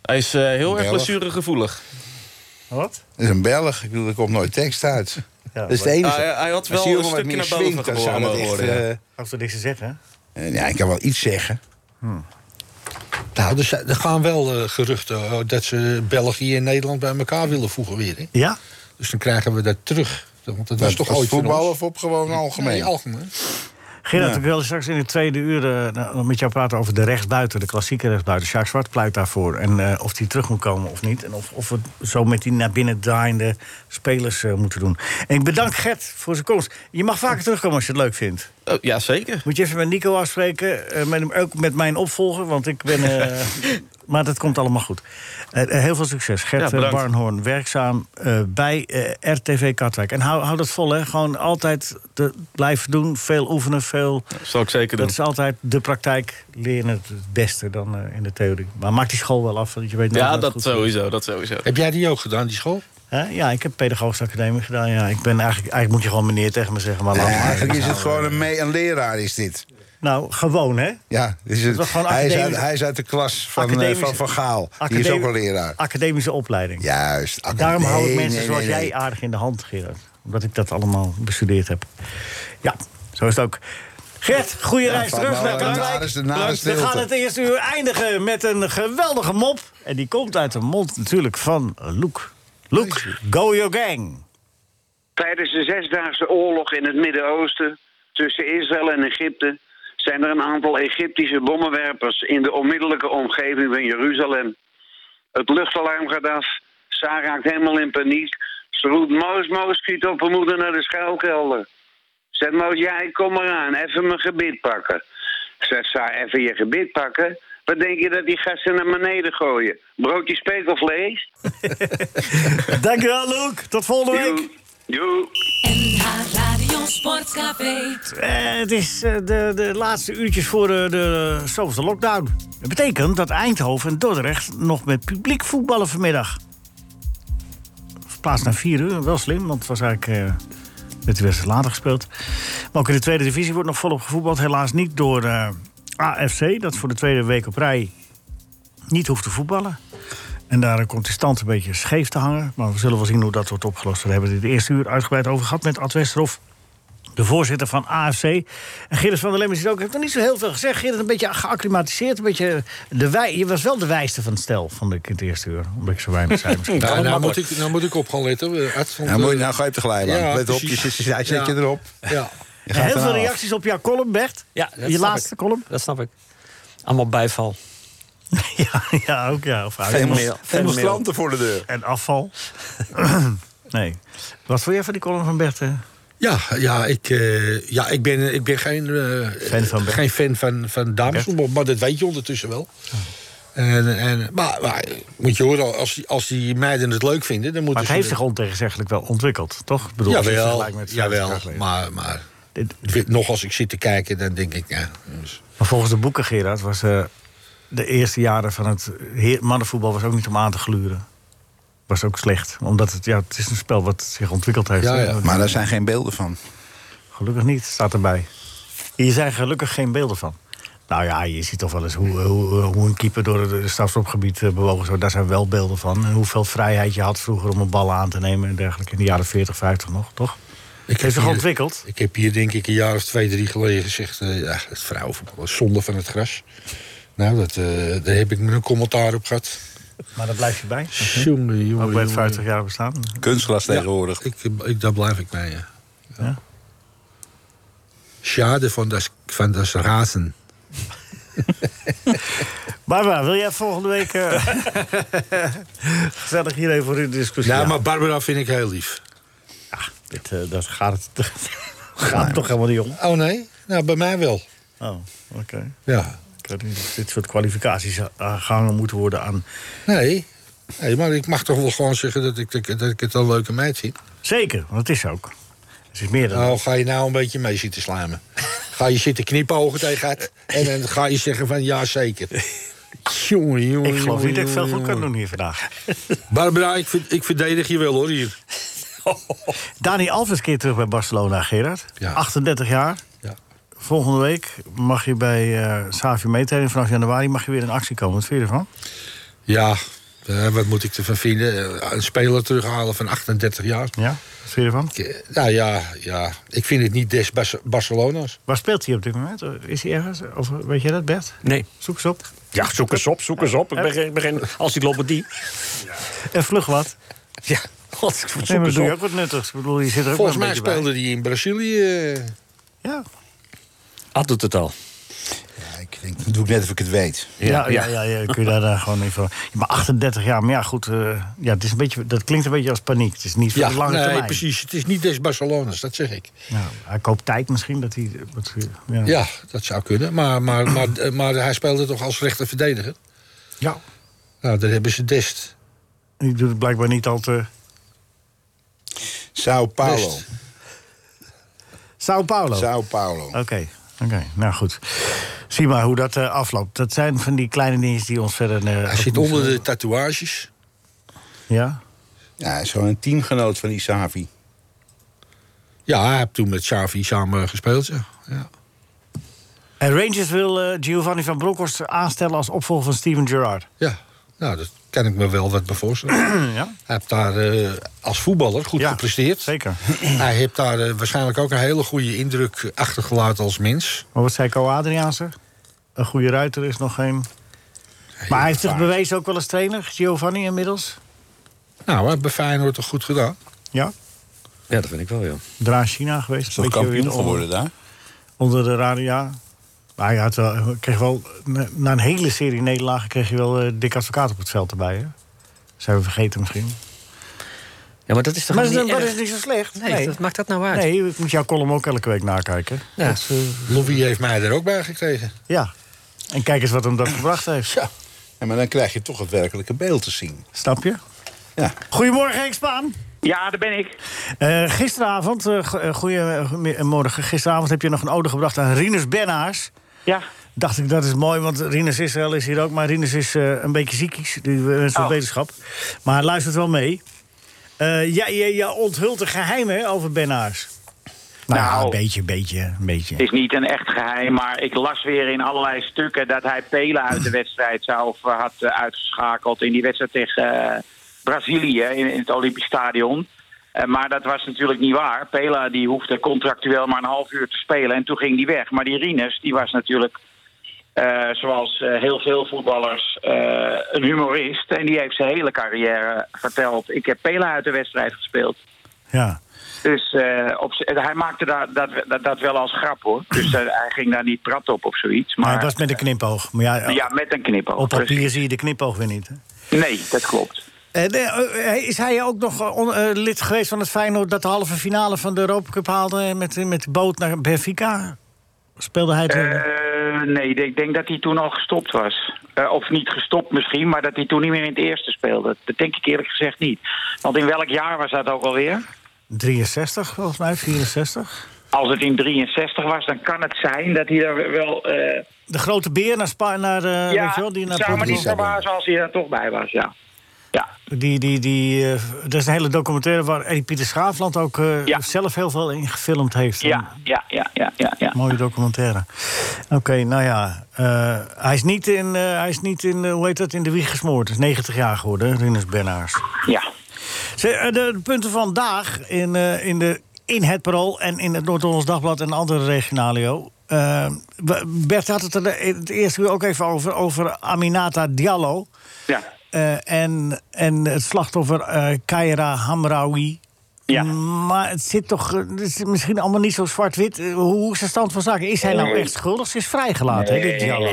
Hij is eh, heel erg Belg. blessuregevoelig. Wat? Dat is een Belg. Ik bedoel, er komt nooit tekst uit. dat is het maar- enige. Ah, hij- hij had Als wel hier een wat stukje meer naar boven swingt, dan zou geboren dat echt, worden, ja. eh, Als we niks te zeggen, eh, ja, ik kan wel iets zeggen. Nou, er, zijn- er gaan wel eh, geruchten eh, dat ze België en Nederland bij elkaar willen voegen weer. Hè? Ja. Dus dan krijgen we dat terug. Want dat was Als- toch als ooit van voetbal ons. of op gewoon algemeen? Nee, algemeen. Gerard, Ja. ik wilde straks in de tweede uur eh, nou, met jou praten over de rechtsbuiten, de klassieke rechtsbuiten. Sjaak Zwart pleit daarvoor. En eh, of die terug moet komen of niet. En of, of we het zo met die naar binnen draaiende spelers eh, moeten doen. En ik bedank Gert voor zijn komst. Je mag vaker terugkomen als je het leuk vindt. Oh, ja, zeker. Moet je even met Nico afspreken, eh, met hem, ook met mijn opvolger, want ik ben... eh, maar dat komt allemaal goed. Eh, eh, heel veel succes. Ja, Gert eh, bedankt. Barnhoorn, werkzaam eh, bij eh, RTV Katwijk. En hou, hou dat vol, hè. Gewoon altijd de, blijven doen, veel oefenen, veel... Zal ik zeker doen. Dat is altijd de praktijk leren het het beste dan eh, in de theorie. Maar maak die school wel af, want je weet nooit Ja, wat dat goed sowieso, dat sowieso. Heb jij die ook gedaan, die school? Hè? Ja, ik heb pedagogische academie gedaan. Ja, ik ben eigenlijk, eigenlijk moet je gewoon meneer tegen me zeggen, maar laat Nee, maar. eigenlijk is het gewoon een, me- een leraar, is dit. Nou, gewoon hè? Ja, dit is het- Dat is gewoon hij, is uit, academisch- hij is uit de klas van, eh, Academische- van Van Gaal. Die is academi- ook een leraar. Academische opleiding. Juist. acad- Daarom hou ik Nee, mensen nee, zoals nee, jij nee. aardig in de hand, Gerard. Omdat ik dat allemaal bestudeerd heb. Ja, zo is het ook. Gert, goede Ja, reis van terug wel naar een Katwijk. nare- de nare We gaan stilte. het eerste uur eindigen met een geweldige mop. En die komt uit de mond natuurlijk van Loek. Loek, go your gang. Tijdens de zesdaagse oorlog in het Midden-Oosten tussen Israël en Egypte zijn er een aantal Egyptische bommenwerpers in de onmiddellijke omgeving van Jeruzalem. Het luchtalarm gaat af, Sa raakt helemaal in paniek. Ze roept Moos, Moos, schiet op, we moeten naar de schuilkelder. Zegt Moos, ja, ik kom eraan, even mijn gebit pakken. Zegt Sa, even je gebit pakken? Wat denk je dat die gasten naar beneden gooien? Broodje spekelvlees? Dankjewel, Loek. Tot volgende week. Joe. NH Radio Sportcafé. Eh, het is eh, de, de laatste uurtjes voor de, de zoveelste lockdown. Dat betekent dat Eindhoven en Dordrecht nog met publiek voetballen vanmiddag. Verplaatst naar vier uur, wel slim, want het was eigenlijk eh, met de wedstrijd later gespeeld. Maar ook in de tweede divisie wordt nog volop gevoetbald. Helaas niet door eh, AFC, dat voor de tweede week op rij niet hoeft te voetballen. En daar eh, komt de stand een beetje scheef te hangen. Maar we zullen wel zien hoe dat wordt opgelost. We hebben het in de eerste uur uitgebreid over gehad met Ad Westerhof de voorzitter van AFC. En Gerrit van der Lem is het ook. Heeft nog niet zo heel veel gezegd. Gerrit, een beetje geacclimatiseerd. Een beetje de wij, je was wel de wijste van het stel, vond ik in het eerste uur. Omdat ik zo weinig zei. misschien. Ja, nou, moet Makkelijk. ik, nou moet ik op gaan letten. eh, Ad, want, Nou, moet je- eh, nou ga je op de glijbaan. ja, Let op, je precies. zit, je- hij zet Ja. je erop. Ja. Je gaat Heel eraan veel af. reacties op jouw column, Bert. Ja, dat Je snap laatste ik. column. Dat snap ik. Allemaal bijval. ja, ja, ook ja. Of uit- Veel Demos- mail, veel Demonstranten voor de deur. en afval. nee. Wat vond jij van die column van Bert? eh? hè? Ja, ja, ik, eh, ja ik, ben, ik ben geen, eh, Fan van Bert. geen fan van, van damesvoetbal, maar dat weet je ondertussen wel. En, en, maar, maar moet je horen, als die, als die meiden het leuk vinden, dan Maar moeten het ze... heeft zich ontegenzeggelijk wel ontwikkeld, toch? Ik bedoel, als je het jawel, vergelijkt met vijftig jawel jaar geleden. maar, maar Dit- nog als ik zit te kijken, dan denk ik... Ja, dus- Maar volgens de boeken, Gerard, was eh, de eerste jaren van het heer- mannenvoetbal was ook niet om aan te gluren. Was ook slecht, omdat het, ja, het is een spel wat zich ontwikkeld heeft. Ja, hè. ja. Maar daar zijn geen beelden van. Gelukkig niet, staat erbij. Hier zijn gelukkig geen beelden van. Nou ja, je ziet toch wel eens hoe, hoe, hoe een keeper door het strafschopgebied eh, bewogen. Zo, daar zijn wel beelden van. En hoeveel vrijheid je had vroeger om een bal aan te nemen en dergelijke. In de jaren 40, 50 nog, toch? ik, Heeft zich hier- ontwikkeld. ik heb hier denk ik een jaar of twee, drie geleden gezegd... eh, ja, het vrouwenvoetbal is zonde van het gras. Nou, dat, eh, daar heb ik me een commentaar op gehad. Maar daar blijf je bij. Jongen, jongen, Ook bij het jongen. 50 jaar bestaan. Kunstglas tegenwoordig. Ik, ik, daar blijf ik bij, ja. schade van dat, van dat razen. Barbara, wil jij volgende week eh, gezellig hier even voor in de discussie? Ja, Nou, maar Barbara vind ik heel lief. Dit, eh, dat gaat, het gaat toch helemaal niet om. Oh nee? Nou, bij mij wel. Oh, oké. Ja. Ik weet niet of dit soort kwalificaties eh, gehangen moeten worden aan... Nee. nee, maar ik mag toch wel gewoon zeggen dat ik, dat ik het een leuke meid vind. Zeker, want het is ook. Het is meer dan... Nou, ga je nou een beetje mee zitten slijmen. ga je zitten knipogen tegen het en dan ga je zeggen van ja, zeker. Jongen, jongen, ik geloof jongen, niet dat ik veel jongen, goed kan doen hier vandaag. Barbara, ik, vind- ik verdedig je wel hoor hier. Dani Alves keer terug bij Barcelona, Gerard. 38 jaar. Ja. Volgende week mag je bij eh Savio meetreden. Vanaf januari mag je weer in actie komen. Wat vind je ervan? Ja, eh, wat moet ik ervan vinden? Eh, Een speler terughalen van 38 jaar. Ja, wat vind je ervan? Nou ja, ja, ik vind het niet des Bas- Barcelona's. Waar speelt hij op dit moment? Is hij ergens? Of weet jij dat, Bert? Nee. Zoek eens op. Ja, zoek eens op, zoek eens op. Ik ben, geen- ik ben geen- als ik loop met die. En vlug wat. Ja, god, zoek Nee, maar eens dat doe je op. ook wat nuttigs. Ik bedoel, je zit er ook Volgens wel mij een beetje bij. speelde die in Brazilië. eh, Ja. Ad Ah, doet het al. Dan doe ik net of ik het weet. Ja, ja, ja, ja, kun je daar, daar gewoon even... Ja, maar 38 jaar, maar ja, goed. eh, ja, het is een beetje, dat klinkt een beetje als paniek. Het is niet voor Ja, de lange nee, termijn. precies. Het is niet des Barcelona's, dat zeg ik. Nou, hij koopt tijd misschien. Dat hij, wat, eh, ja. Ja, dat zou kunnen. Maar, maar, maar, eh, maar hij speelde toch als rechter verdediger? Ja. Nou, daar hebben ze dest. Die doet het blijkbaar niet al te... Sao Paulo. Best. Sao Paulo. Sao Paulo. Oké, oké. Nou goed. Zie maar hoe dat eh, afloopt. Dat zijn van die kleine dingen die ons verder... eh, Hij zit ook onder niet- de tatoeages. Ja? Ja, hij is gewoon een teamgenoot van Isavi. Ja, hij heeft toen met Xavi samen gespeeld. Ja. Ja. En Rangers wil eh, Giovanni van Bronckhorst aanstellen als opvolger van Steven Gerrard. ja, nou, dat kan ik me wel wat bij voorstellen. ja? Hij heeft daar eh, als voetballer goed Ja, gepresteerd. Zeker. Hij heeft daar eh, waarschijnlijk ook een hele goede indruk achtergelaten als mens. Maar wat zei Co Adriaanse? Een goede ruiter is nog geen... Maar hij heeft zich bewezen ook wel als trainer, Giovanni inmiddels. Nou, hij heeft bij Feyenoord toch goed gedaan. Ja, Ja, dat vind ik wel, ja. Dra China geweest. Is toch Beetje weer kampioen onder- geworden daar? Onder de radio, ja. Maar hij had wel, kreeg wel, na- na een hele serie nederlagen kreeg je wel eh dik advocaat op het veld erbij. Hè? Zijn we vergeten misschien. Ja, maar dat is toch Maar niet dat, dat erg? is niet zo slecht. Nee, dat maakt dat nou uit? Nee, ik moet jouw column ook elke week nakijken. Ja. Dat is, eh, Louis heeft mij er ook bij gekregen. ja. En kijk eens wat hem dat gebracht heeft. Ja, maar dan krijg je toch het werkelijke beeld te zien. Snap je? Ja. Goedemorgen, Henk Spaan. Ja, daar ben ik. Eh, gisteravond, eh, go- eh, goedemorgen, gisteravond heb je nog een ode gebracht aan Rinus Bennaars. Ja. Dacht ik, dat is mooi, want Rinus Israël is hier ook. Maar Rinus is eh, een beetje ziekies, die mensen van Oh. wetenschap. Maar hij luistert wel mee. Eh jij, jij, jij onthult een geheim hè, over Bennaars. Nou, ja, Nou. een beetje, een beetje, een beetje. Het is niet een echt geheim, maar ik las weer in allerlei stukken dat hij Pelen uit de wedstrijd zou of eh, had eh, uitgeschakeld in die wedstrijd tegen eh, Brazilië in, in het Olympisch Stadion. Eh, maar dat was natuurlijk niet waar. Pela die hoefde contractueel maar een half uur te spelen en toen ging die weg. Maar die Rinus die was natuurlijk, eh, zoals eh, heel veel voetballers, eh, een humorist. En die heeft zijn hele carrière verteld. Ik heb Pela uit de wedstrijd gespeeld. Ja. Dus eh, op, z- hij maakte daar, dat, dat, dat wel als grap hoor. Dus eh, hij ging daar niet prat op of zoiets. Maar Maar het was met een knipoog. Maar ja, ja, met een knipoog. op papier zie je de knipoog weer niet. Hè? Dus- nee, dat klopt. Eh, nee, eh, eh, is hij ook nog eh, on- eh, lid geweest van het Feyenoord... dat de halve finale van de Europa Cup haalde eh, met, met de boot naar Benfica? Speelde hij toen? Eh, nee, ik denk- denk dat hij toen al gestopt was. Eh, of niet gestopt misschien, maar dat hij toen niet meer in het eerste speelde. Dat denk ik eerlijk gezegd niet. Want in welk jaar was dat ook alweer? 63, volgens mij, 64. Als het in 63 was, dan kan het zijn dat hij daar wel... eh, De grote beer naar Spa naar, eh ja, weet je wel, die naar zou me niet Portugal. verbazen als hij daar toch bij was, ja. Die, die, die, eh, er is een hele documentaire waar Eddie Pieter Schaafland ook eh, zelf heel veel in gefilmd heeft. Ja, ja, ja, ja, ja. ja. Een Mooie documentaire. Oké, nou ja. eh, hij is niet, in, eh, hij is niet in, eh, hoe heet dat, in de wieg gesmoord. Hij is 90 jaar geworden, hè, Rinus Bennaars. Ja. Ze- eh, de, de punten vandaag in, eh, in, de, in het Parool en in het Noord-Hollands Dagblad en andere regionalio. Eh, we- Bert had het er in het eerste uur ook even over, over Aminata Diallo. Ja. Eh, en, en het slachtoffer eh Kaira Hamraoui. Maar het zit toch eh, het is misschien allemaal niet zo zwart-wit. Eh, Hoe hoe is de stand van zaken? Is hij nou Nee. echt schuldig? Ze is vrijgelaten, hè, dit Diallo?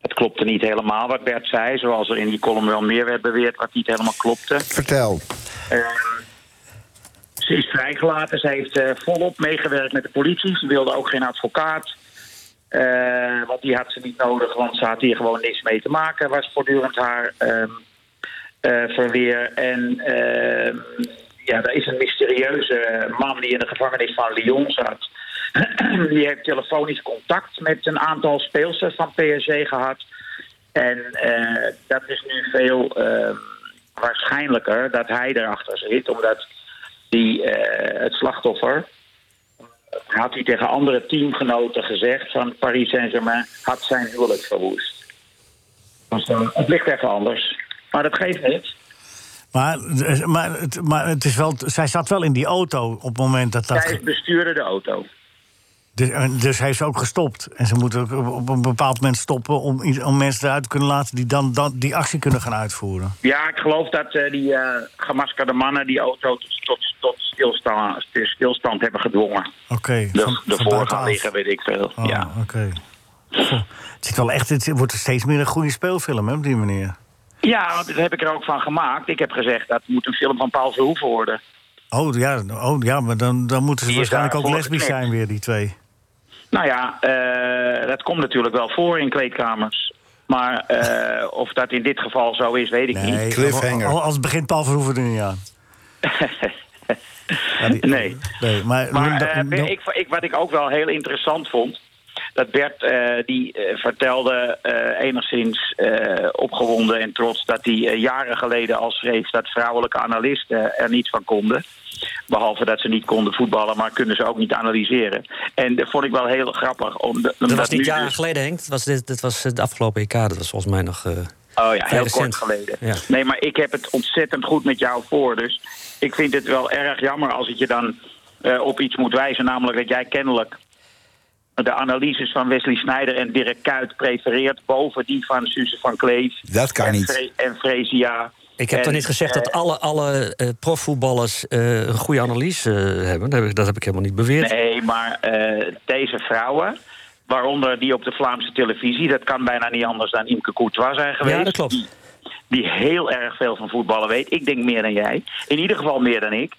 Het klopte niet helemaal wat Bert zei, zoals er in die column wel meer werd beweerd wat niet helemaal klopte. Eh, Vertel. ze is vrijgelaten, ze heeft eh, volop meegewerkt met de politie. Ze wilde ook geen advocaat, eh, want die had ze niet nodig, want ze had hier gewoon niks mee te maken. Was voortdurend haar ehm, eh, verweer. En ehm, ja, er is een mysterieuze man die in de gevangenis van Lyon zat. die heeft telefonisch contact met een aantal speelsters van PSG gehad. En eh, dat is nu veel eh, waarschijnlijker dat hij erachter zit, omdat die, eh, het slachtoffer. Had hij tegen andere teamgenoten gezegd van Paris Saint-Germain had zijn huwelijk verwoest. Dus dan, het ligt even anders. Maar dat geeft niks. Maar, eh, maar, het, maar het is wel, zij zat wel in die auto op het moment dat dat... Zij bestuurde de auto. Dus, en dus hij is ook gestopt. En ze moeten ook op- op een bepaald moment stoppen om, iets- om mensen eruit te kunnen laten die dan, dan die actie kunnen gaan uitvoeren. Ja, ik geloof dat eh, die eh, gemaskerde mannen die auto tot, tot, tot stilstand, stilstand hebben gedwongen. Oké. van- De, ervoor van gaan buitenaf. liggen, weet ik veel. Oh, ja. Oké. Goh, Het, zit wel echt, het wordt steeds meer een goede speelfilm hè, op die manier. ja, want dat heb ik er ook van gemaakt. Ik heb gezegd dat moet een film van Paul Verhoeven worden. Oh ja, oh, ja maar dan, dan moeten ze Die is waarschijnlijk ook daarvoor lesbisch geknipt. zijn weer, die twee. Nou ja, eh, dat komt natuurlijk wel voor in kleedkamers. Maar eh, of dat in dit geval zo is, weet ik niet. Al- al- Als begint Paul Verhoeven er niet aan. nee. Nee, maar... Maar dat- eh, dat- ik, ik, wat ik ook wel heel interessant vond... dat Bert eh, die eh, vertelde eh, enigszins eh, opgewonden en trots... dat hij eh, jaren geleden al schreef dat vrouwelijke analisten er niet van konden. Behalve dat ze niet konden voetballen, maar kunnen ze ook niet analyseren. En dat vond ik wel heel grappig. Om de, Dat was nu niet jaren dus- geleden, Henk. Dat was, dit, dit was het afgelopen EK. Dat was volgens mij nog... eh, Oh ja, vrij heel recent. kort geleden. Ja. Nee, maar ik heb het ontzettend goed met jou voor. Dus ik vind het wel erg jammer als het je dan eh, op iets moet wijzen. Namelijk dat jij kennelijk de analyses van Wesley Snijder en Dirk Kuyt prefereert... boven die van Suze van Kleef Dat kan en, niet. Fre- en Fresia. Ik heb En, toch niet gezegd dat eh, alle, alle eh, profvoetballers eh, een goede analyse eh, hebben? Dat heb, ik, dat heb ik helemaal niet beweerd. Nee, maar eh, deze vrouwen, waaronder die op de Vlaamse televisie... dat kan bijna niet anders dan Imke Courtois zijn geweest. Ja, dat klopt. Die, die heel erg veel van voetballen weet. Ik denk meer dan jij. In ieder geval meer dan ik.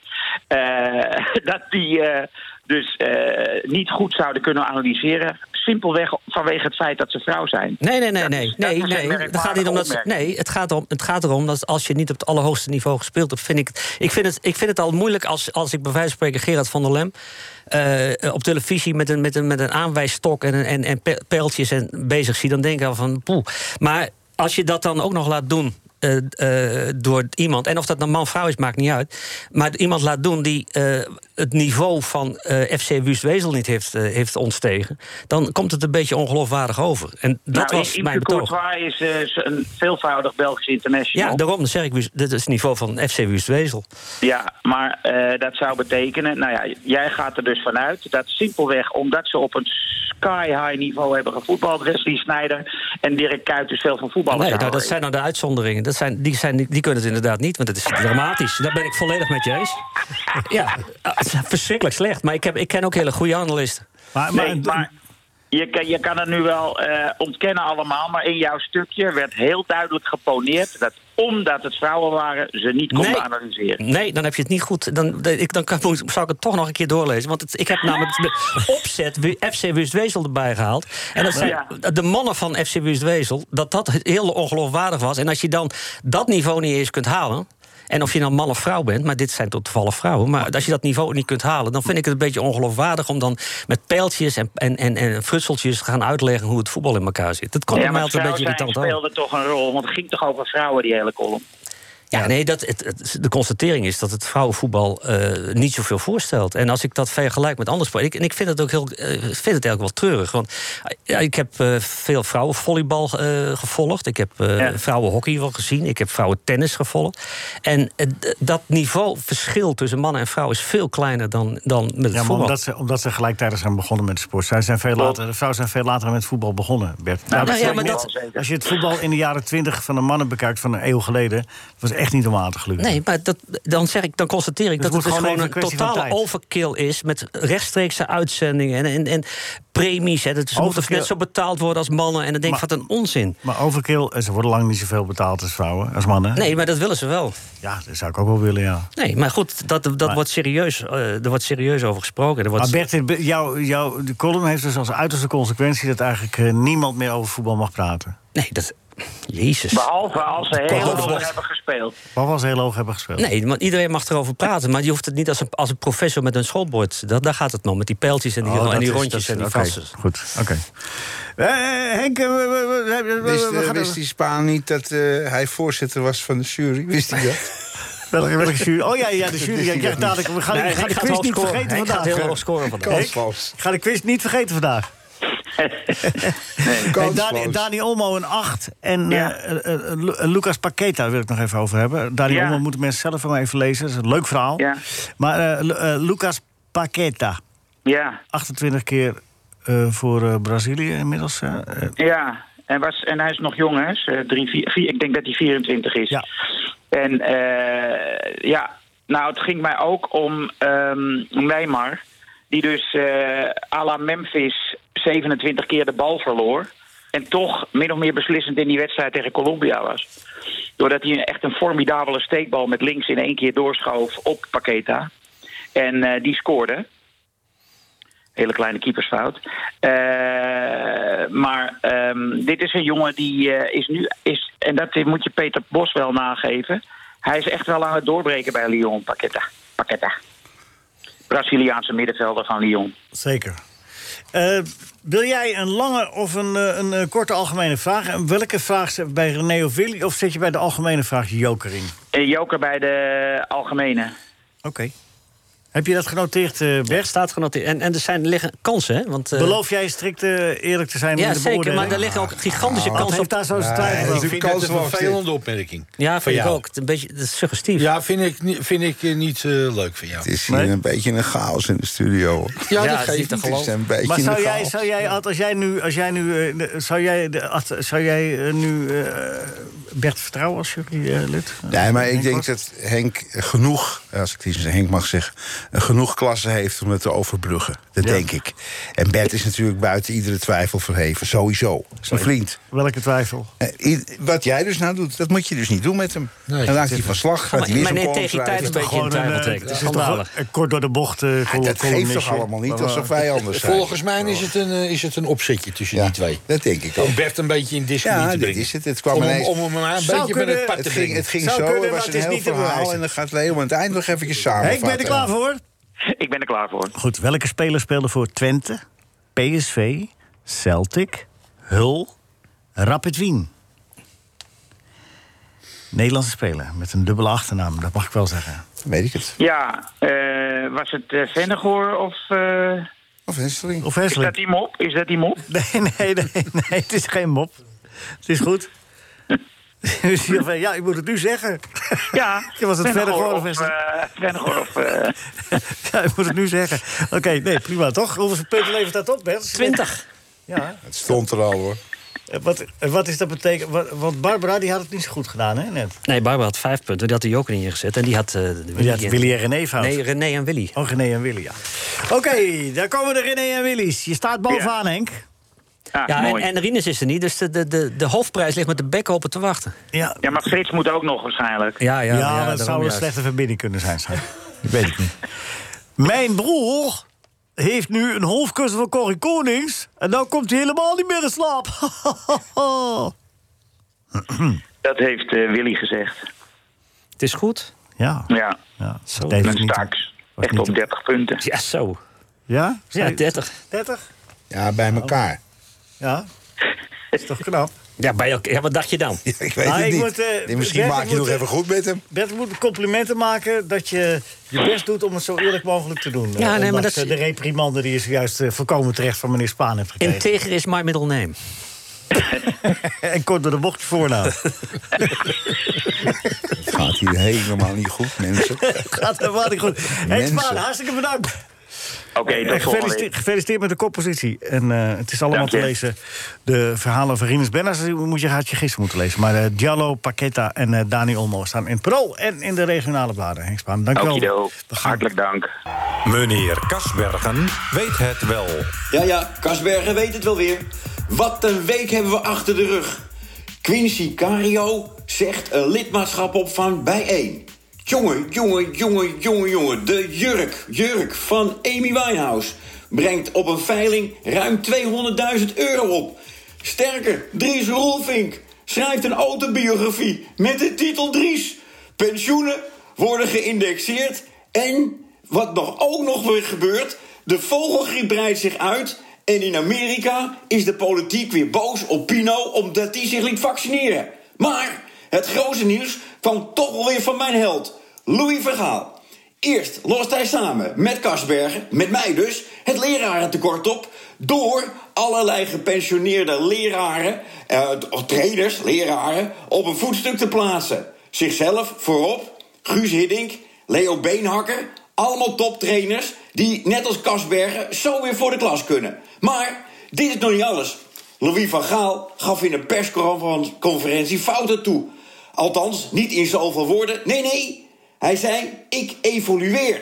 Eh, dat die eh, dus eh, niet goed zouden kunnen analyseren... simpelweg vanwege het feit dat ze vrouw zijn. Nee, nee, nee, nee. nee, dat is een nee. Het gaat niet om dat ze- opmerking. nee, het gaat, om, het gaat erom dat als je niet op het allerhoogste niveau gespeeld hebt, vind ik. het- Ik vind het, ik vind het al moeilijk als, als ik bij wijze van spreken Gerard van der Lem. eh, op televisie met een, met een, met een aanwijsstok en, een- en, en pe- pijltjes en bezig zie, dan denk ik al van poeh. Maar als je dat dan ook nog laat doen. eh, eh, door iemand, en of dat een man of vrouw is, maakt niet uit. Maar iemand laat doen die eh, het niveau van eh, FC Wust Wezel niet heeft, eh, heeft ontstegen, dan komt het een beetje ongeloofwaardig over. En dat Nou, was Imke mijn betoog. Courtois is eh, een veelvoudig Belgisch international. Ja, daarom zeg ik, dit is het niveau van FC Wust Wezel. Ja, maar eh, dat zou betekenen, nou ja, jij gaat er dus vanuit dat simpelweg omdat ze op een sky high niveau hebben gevoetbald, Wesley Sneijder en Dirk Kuyt dus veel van voetballen Nee, nou, zouden dat zijn nou de uitzonderingen. Dat zijn, die, zijn, die kunnen het inderdaad niet, want het is dramatisch. Daar ben ik volledig met je eens. Ja, eh, het is verschrikkelijk slecht. Maar ik, heb, ik ken ook hele goede analisten. Maar, Nee, maar je, kan- je kan het nu wel eh, ontkennen allemaal, maar in jouw stukje werd heel duidelijk geponeerd dat omdat het vrouwen waren, ze niet konden analyseren. Nee, dan heb je het niet goed. Dan, de- ik, dan kan, moet- zou ik het toch nog een keer doorlezen. Want het- ik heb namelijk met opzet Wi- FC Wust-Wezel erbij gehaald. En dat zijn de mannen van FC Wust-Wezel. Dat dat heel ongeloofwaardig was. En als je dan dat niveau niet eens kunt halen. En of je nou man of vrouw bent, maar dit zijn tot toevallig vrouwen. Maar als je dat niveau niet kunt halen, dan vind ik het een beetje ongeloofwaardig om dan met pijltjes en, en, en, en frutseltjes te gaan uitleggen hoe het voetbal in elkaar zit. Dat komt ja, maar bij mij altijd een vrouwen beetje irritant aan. speelde toch een rol, want het ging toch over vrouwen, die hele column. Ja, nee, dat, het, het- de constatering is dat het vrouwenvoetbal eh, niet zoveel voorstelt. En als ik dat vergelijk met andere sporten... Ik, en ik vind het ook heel, eh, vind het eigenlijk wel treurig. Want eh, ja, ik heb eh, veel vrouwenvolleybal eh, gevolgd. Ik heb eh, vrouwenhockey wel gezien. Ik heb vrouwentennis gevolgd. En eh, d- dat niveauverschil tussen mannen en vrouwen... is veel kleiner dan, dan met het ja, maar voetbal. omdat ze, omdat ze gelijktijdig zijn begonnen met de sport. Zij zijn veel later, de vrouwen zijn veel later met voetbal begonnen, Bert. Nou, dat nou ja, zeg maar ik dat- niet. Als je het voetbal in de jaren twintig van de mannen bekijkt van een eeuw geleden... dat was echt niet om aan te gluren. Nee, maar dat, dan, zeg ik, dan constateer ik Dus dat het het dus wordt gewoon gewoon een even een kwestie van totale tijd. overkill is... met rechtstreekse uitzendingen en, en, en premies. Hè, dat ze moeten Overkill. net zo betaald worden als mannen. En dan denk ik, wat een onzin. Maar overkill, eh, ze worden lang niet zoveel betaald als vrouwen, als mannen. Nee, maar dat willen ze wel. Ja, dat zou ik ook wel willen, ja. Nee, maar goed, dat, dat wordt serieus, eh, er wordt serieus over gesproken. Er wordt Maar Bert, be- jouw jou, de column heeft dus als uiterste consequentie... dat eigenlijk eh, niemand meer over voetbal mag praten. Nee, dat... Jezus. Behalve als ze heel Klopt. hoog hebben gespeeld. Wat was heel hoog hebben gespeeld. Nee, want iedereen mag erover praten, maar je hoeft het niet als een, als een professor met een schoolbord. Dat, daar gaat het om, met die pijltjes en die, Oh, en dat die is- rondjes dat is- en die oké, vassen. Goed, oké. Eh, eh, Henk, eh, we, we, we- we- we- Wist, we eh, gaan- wist die Spaan niet dat eh, hij voorzitter was van de jury? Wist hij dat? Welke, welke jury? Oh ja, ja de jury. Ja, ja, dadelijk. We gaan, Nee, we hij gaan de gaat quiz hoog niet scoren. vergeten Hij gaat vandaag. eh. heel hoog scoren vandaag. Ik ga de quiz niet vergeten vandaag. Hey, Dani, Dani Olmo een 8 en eh, eh, eh, Lu- eh, Lucas Paqueta wil ik nog even over hebben. Dani Ja. Olmo moeten mensen zelf maar even lezen. Dat is een leuk verhaal. Maar eh, Lu- eh, Lucas Paqueta, Ja, 28 keer eh, voor eh, Brazilië inmiddels. eh. Eh, Ja, en, was, en hij is nog jong, hè? Is, eh, drie, vier, vier- ik denk dat hij 24 is. En eh, ja, nou, het ging mij ook om ehm, Neymar, die dus eh à la Memphis 27 keer de bal verloor. En toch min of meer beslissend in die wedstrijd tegen Colombia was. Doordat hij echt een formidabele steekbal met links in één keer doorschoof op Paqueta. En eh, die scoorde. Hele kleine keepersfout. Eh, maar ehm, dit is een jongen die eh, is nu... Is, en dat moet je Peter Bos wel nageven. Hij is echt wel aan het doorbreken bij Lyon, Paqueta. Paqueta. Braziliaanse middenvelder van Lyon. Zeker. Eh, wil jij een lange of een, eh, een eh, korte algemene vraag? En welke vraag zet bij René of Willy? Of zet je bij de algemene vraag je joker in? Eh, Joker bij de algemene. Oké. Heb je dat genoteerd, eh, Bert? staat genoteerd. En, en er zijn, liggen kansen, hè? Want, eh, Beloof jij strikt eh, eerlijk te zijn Ja, in de zeker, maar beoordeling? er liggen ook gigantische Wat kansen heeft op... daar zo zijn twijfel over? ik vind dat een vervelende opmerking. Ja, van vind ik jou. ook. Het is Een beetje het is suggestief. Ja, vind ik, ni- vind ik eh, niet eh, leuk van jou. Het is hier een beetje een chaos in de studio. hoor. Ja, dat geeft niet. Het is een beetje Maar zou een jij, chaos. zou jij, Ad, als jij nu, als jij nu, eh, de- zou jij, de, Ad, zou jij eh, nu eh, Bert vertrouwen als eh, jurylid? Nee, maar ik denk dat Henk genoeg, als ik het eens aan Henk mag zeggen, genoeg klassen heeft om het te overbruggen. Dat denk ik. En Bert is natuurlijk buiten iedere twijfel verheven, sowieso. Zijn vriend. Welke twijfel? Eh, i- Wat jij dus nou doet, dat moet je dus niet doen met hem. dan raakt hij van slag, gaat hij weer zo'n column schrijven. eh, kort door de bocht. eh, Ah, dat geeft toch allemaal niet, alsof wij anders zijn. Volgens mij is het een, eh, is het een opzetje tussen die twee. Dat denk ik ook. Om Bert een beetje in discussie Ja, te dit brengen. is het. Het kwam om, hem- ineens- Om hem maar een Zou beetje kunnen- met het pad te het ging, brengen. het ging zo, er was een heel verhaal en dan gaat Leo aan het eind nog eventjes samen. Henk, ben je er klaar voor? Ik ben er klaar voor. Goed, welke speler speelde voor Twente, PSV, Celtic, Hull, Rapid Wien? Nederlandse speler met een dubbele achternaam, dat mag ik wel zeggen. Weet ik het. Ja, eh, was het eh, Vennegoor of... eh, Of Hesseling. Of Is Hesseling. dat die mop? Is dat die mop? Nee, nee, nee, nee, het is geen mop. Het is goed. Dus je van, ja, ik moet het nu zeggen. Ja, Je was het verder Vennegoor geworden. of... Vester. eh, Vennegoor of... eh, Ja, ik moet het nu zeggen. Oké, nee, prima, toch? Hoeveel punten levert dat op, Bert? 20. Ja. Het stond er al hoor. Eh, Wat, eh, wat is dat betekent? Wat- Want Barbara die had het niet zo goed gedaan, hè, net? Nee, Barbara had vijf punten. Die had de joker niet ingezet. En die had... eh, Willy, had Willy en René fout. Nee, René en Willy. Oh, René en Willy, ja. Oké, daar komen de René en Willys. Je staat bovenaan, Henk. Ah, ja, en, ah, mooi. en Rinus is er niet, dus de, de, de, de hoofdprijs ligt met de bek open te wachten. Ja, Ja, maar Frits moet ook nog waarschijnlijk. Ja, ja, ja, ja, maar het daarom zou een juist. slechte verbinding kunnen zijn. schat. Ik weet het niet. Mijn broer heeft nu een hoofdkussen van Corrie Konings... en nou komt hij helemaal niet meer in slaap. Dat heeft eh, Willy gezegd. Het is goed. ja, Ja, ja. Zo. Deze met is niet- Staaks. Echt op 30 punten. Ja, zo. Ja? Ja, 30. 30? Ja, bij elkaar. Ja. Is toch knap? Ja, bij elkaar. Ja, wat dacht je dan? Ik weet Nou, het ik niet. moet, eh, Nee, Misschien Bert, maak ik je moet, nog eh, even goed met hem. Bert, we moeten complimenten maken dat je je best doet om het zo eerlijk mogelijk te doen. nee, Eh, maar ondanks, dat is- eh, De reprimande die je zojuist eh, voorkomen terecht van meneer Spaan hebt gekregen. Integer is my middle name. en kort door de bocht je voornaam. Het gaat hier helemaal niet goed, mensen. Gaat helemaal niet goed. Henk Mensen. Spaan, hartstikke bedankt. Oké, tot volgende Eh, gefeliciteerd, week. gefeliciteerd met de koppositie. En eh, het is allemaal Dank je. te lezen. De verhalen van Rinus Benners die moet je, had je gisteren moeten lezen. Maar eh, Diallo, Paqueta en eh, Dani Olmo staan in het Parool en in de regionale bladen. Henk Spaan, dank je wel. Okido, hartelijk dank. Meneer Kasbergen weet het wel. Ja, ja, Kasbergen weet het wel weer. Wat een week hebben we achter de rug. Quincy Cario zegt een lidmaatschap op van bijeen. Jongen, jongen, jongen, jongen, jongen. De jurk, jurk van Amy Winehouse... brengt op een veiling ruim 200.000 euro op. Sterker, Dries Roelvink schrijft een autobiografie met de titel Dries. Pensioenen worden geïndexeerd en wat nog ook nog weer gebeurt, de vogelgriep breidt zich uit en in Amerika is de politiek weer boos op Pino omdat hij zich liet vaccineren. Maar het grote nieuws kwam toch wel weer van mijn held, Louis Vergaal. Eerst lost hij samen met Kasbergen, met mij dus, het lerarentekort op... door allerlei gepensioneerde leraren, eh, of trainers, leraren, op een voetstuk te plaatsen. Zichzelf voorop, Guus Hiddink, Leo Beenhakker... allemaal toptrainers die, net als Kasbergen, zo weer voor de klas kunnen. Maar dit is nog niet alles. Louis van Gaal gaf in een persconferentie fouten toe. Althans, niet in zoveel woorden. Nee, nee, hij zei, ik evolueer.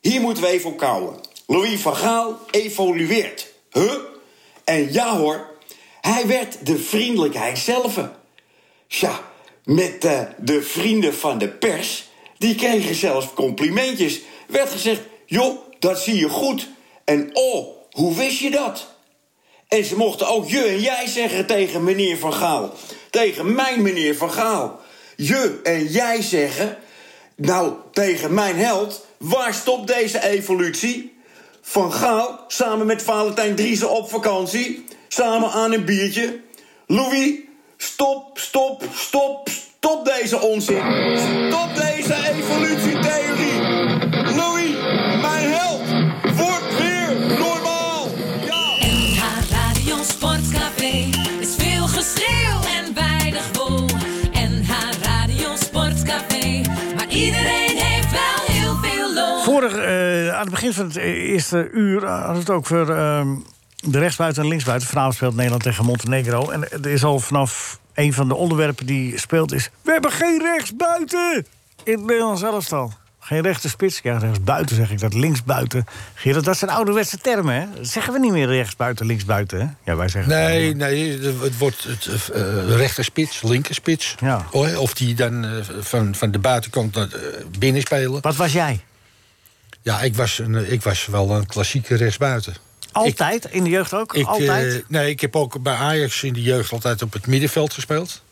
Hier moeten we even op kouwen. Louis van Gaal evolueert. Huh? En ja hoor, hij werd de vriendelijkheid zelf. Ja, met eh, de vrienden van de pers, die kregen zelfs complimentjes. Werd gezegd, joh, dat zie je goed. En oh, hoe wist je dat? En ze mochten ook je en jij zeggen tegen meneer Van Gaal. Tegen mijn meneer Van Gaal. Je en jij zeggen. Nou, tegen mijn held. Waar stopt deze evolutie? Van Gaal samen met Valentijn Driessen op vakantie. Samen aan een biertje. Louis, stop, stop, stop, stop deze onzin. Stop deze evolutietheorie. Louis, mijn held, wordt weer normaal. NH Radio Sportcafé is veel geschreeuw en weinig wol. NH Radio Sportcafé, maar iedereen heeft wel heel veel lol. Vorig, eh, aan het begin van het eerste uur eh, hadden we het ook voor ehm, de rechtsbuiten en linksbuiten. Vanavond speelt Nederland tegen Montenegro. En er is al vanaf een van de onderwerpen die speelt is... We hebben geen rechtsbuiten in het Nederlands elftal. Geen rechterspits, ja, rechtsbuiten zeg ik dat, linksbuiten. Gerard, dat zijn ouderwetse termen, hè? Dat zeggen we niet meer rechtsbuiten, linksbuiten, hè? Ja, wij zeggen... Nee, nee, het wordt het, eh, rechterspits, linkerspits. Oh, Of die dan eh, van, van de buitenkant naar eh, binnen spelen. Wat was jij? Ja, ik was, een, eh, ik was wel een klassieke rechtsbuiten. Altijd? in de jeugd ook? Ik, Altijd? eh, nee, ik heb ook bij Ajax in de jeugd altijd op het middenveld gespeeld.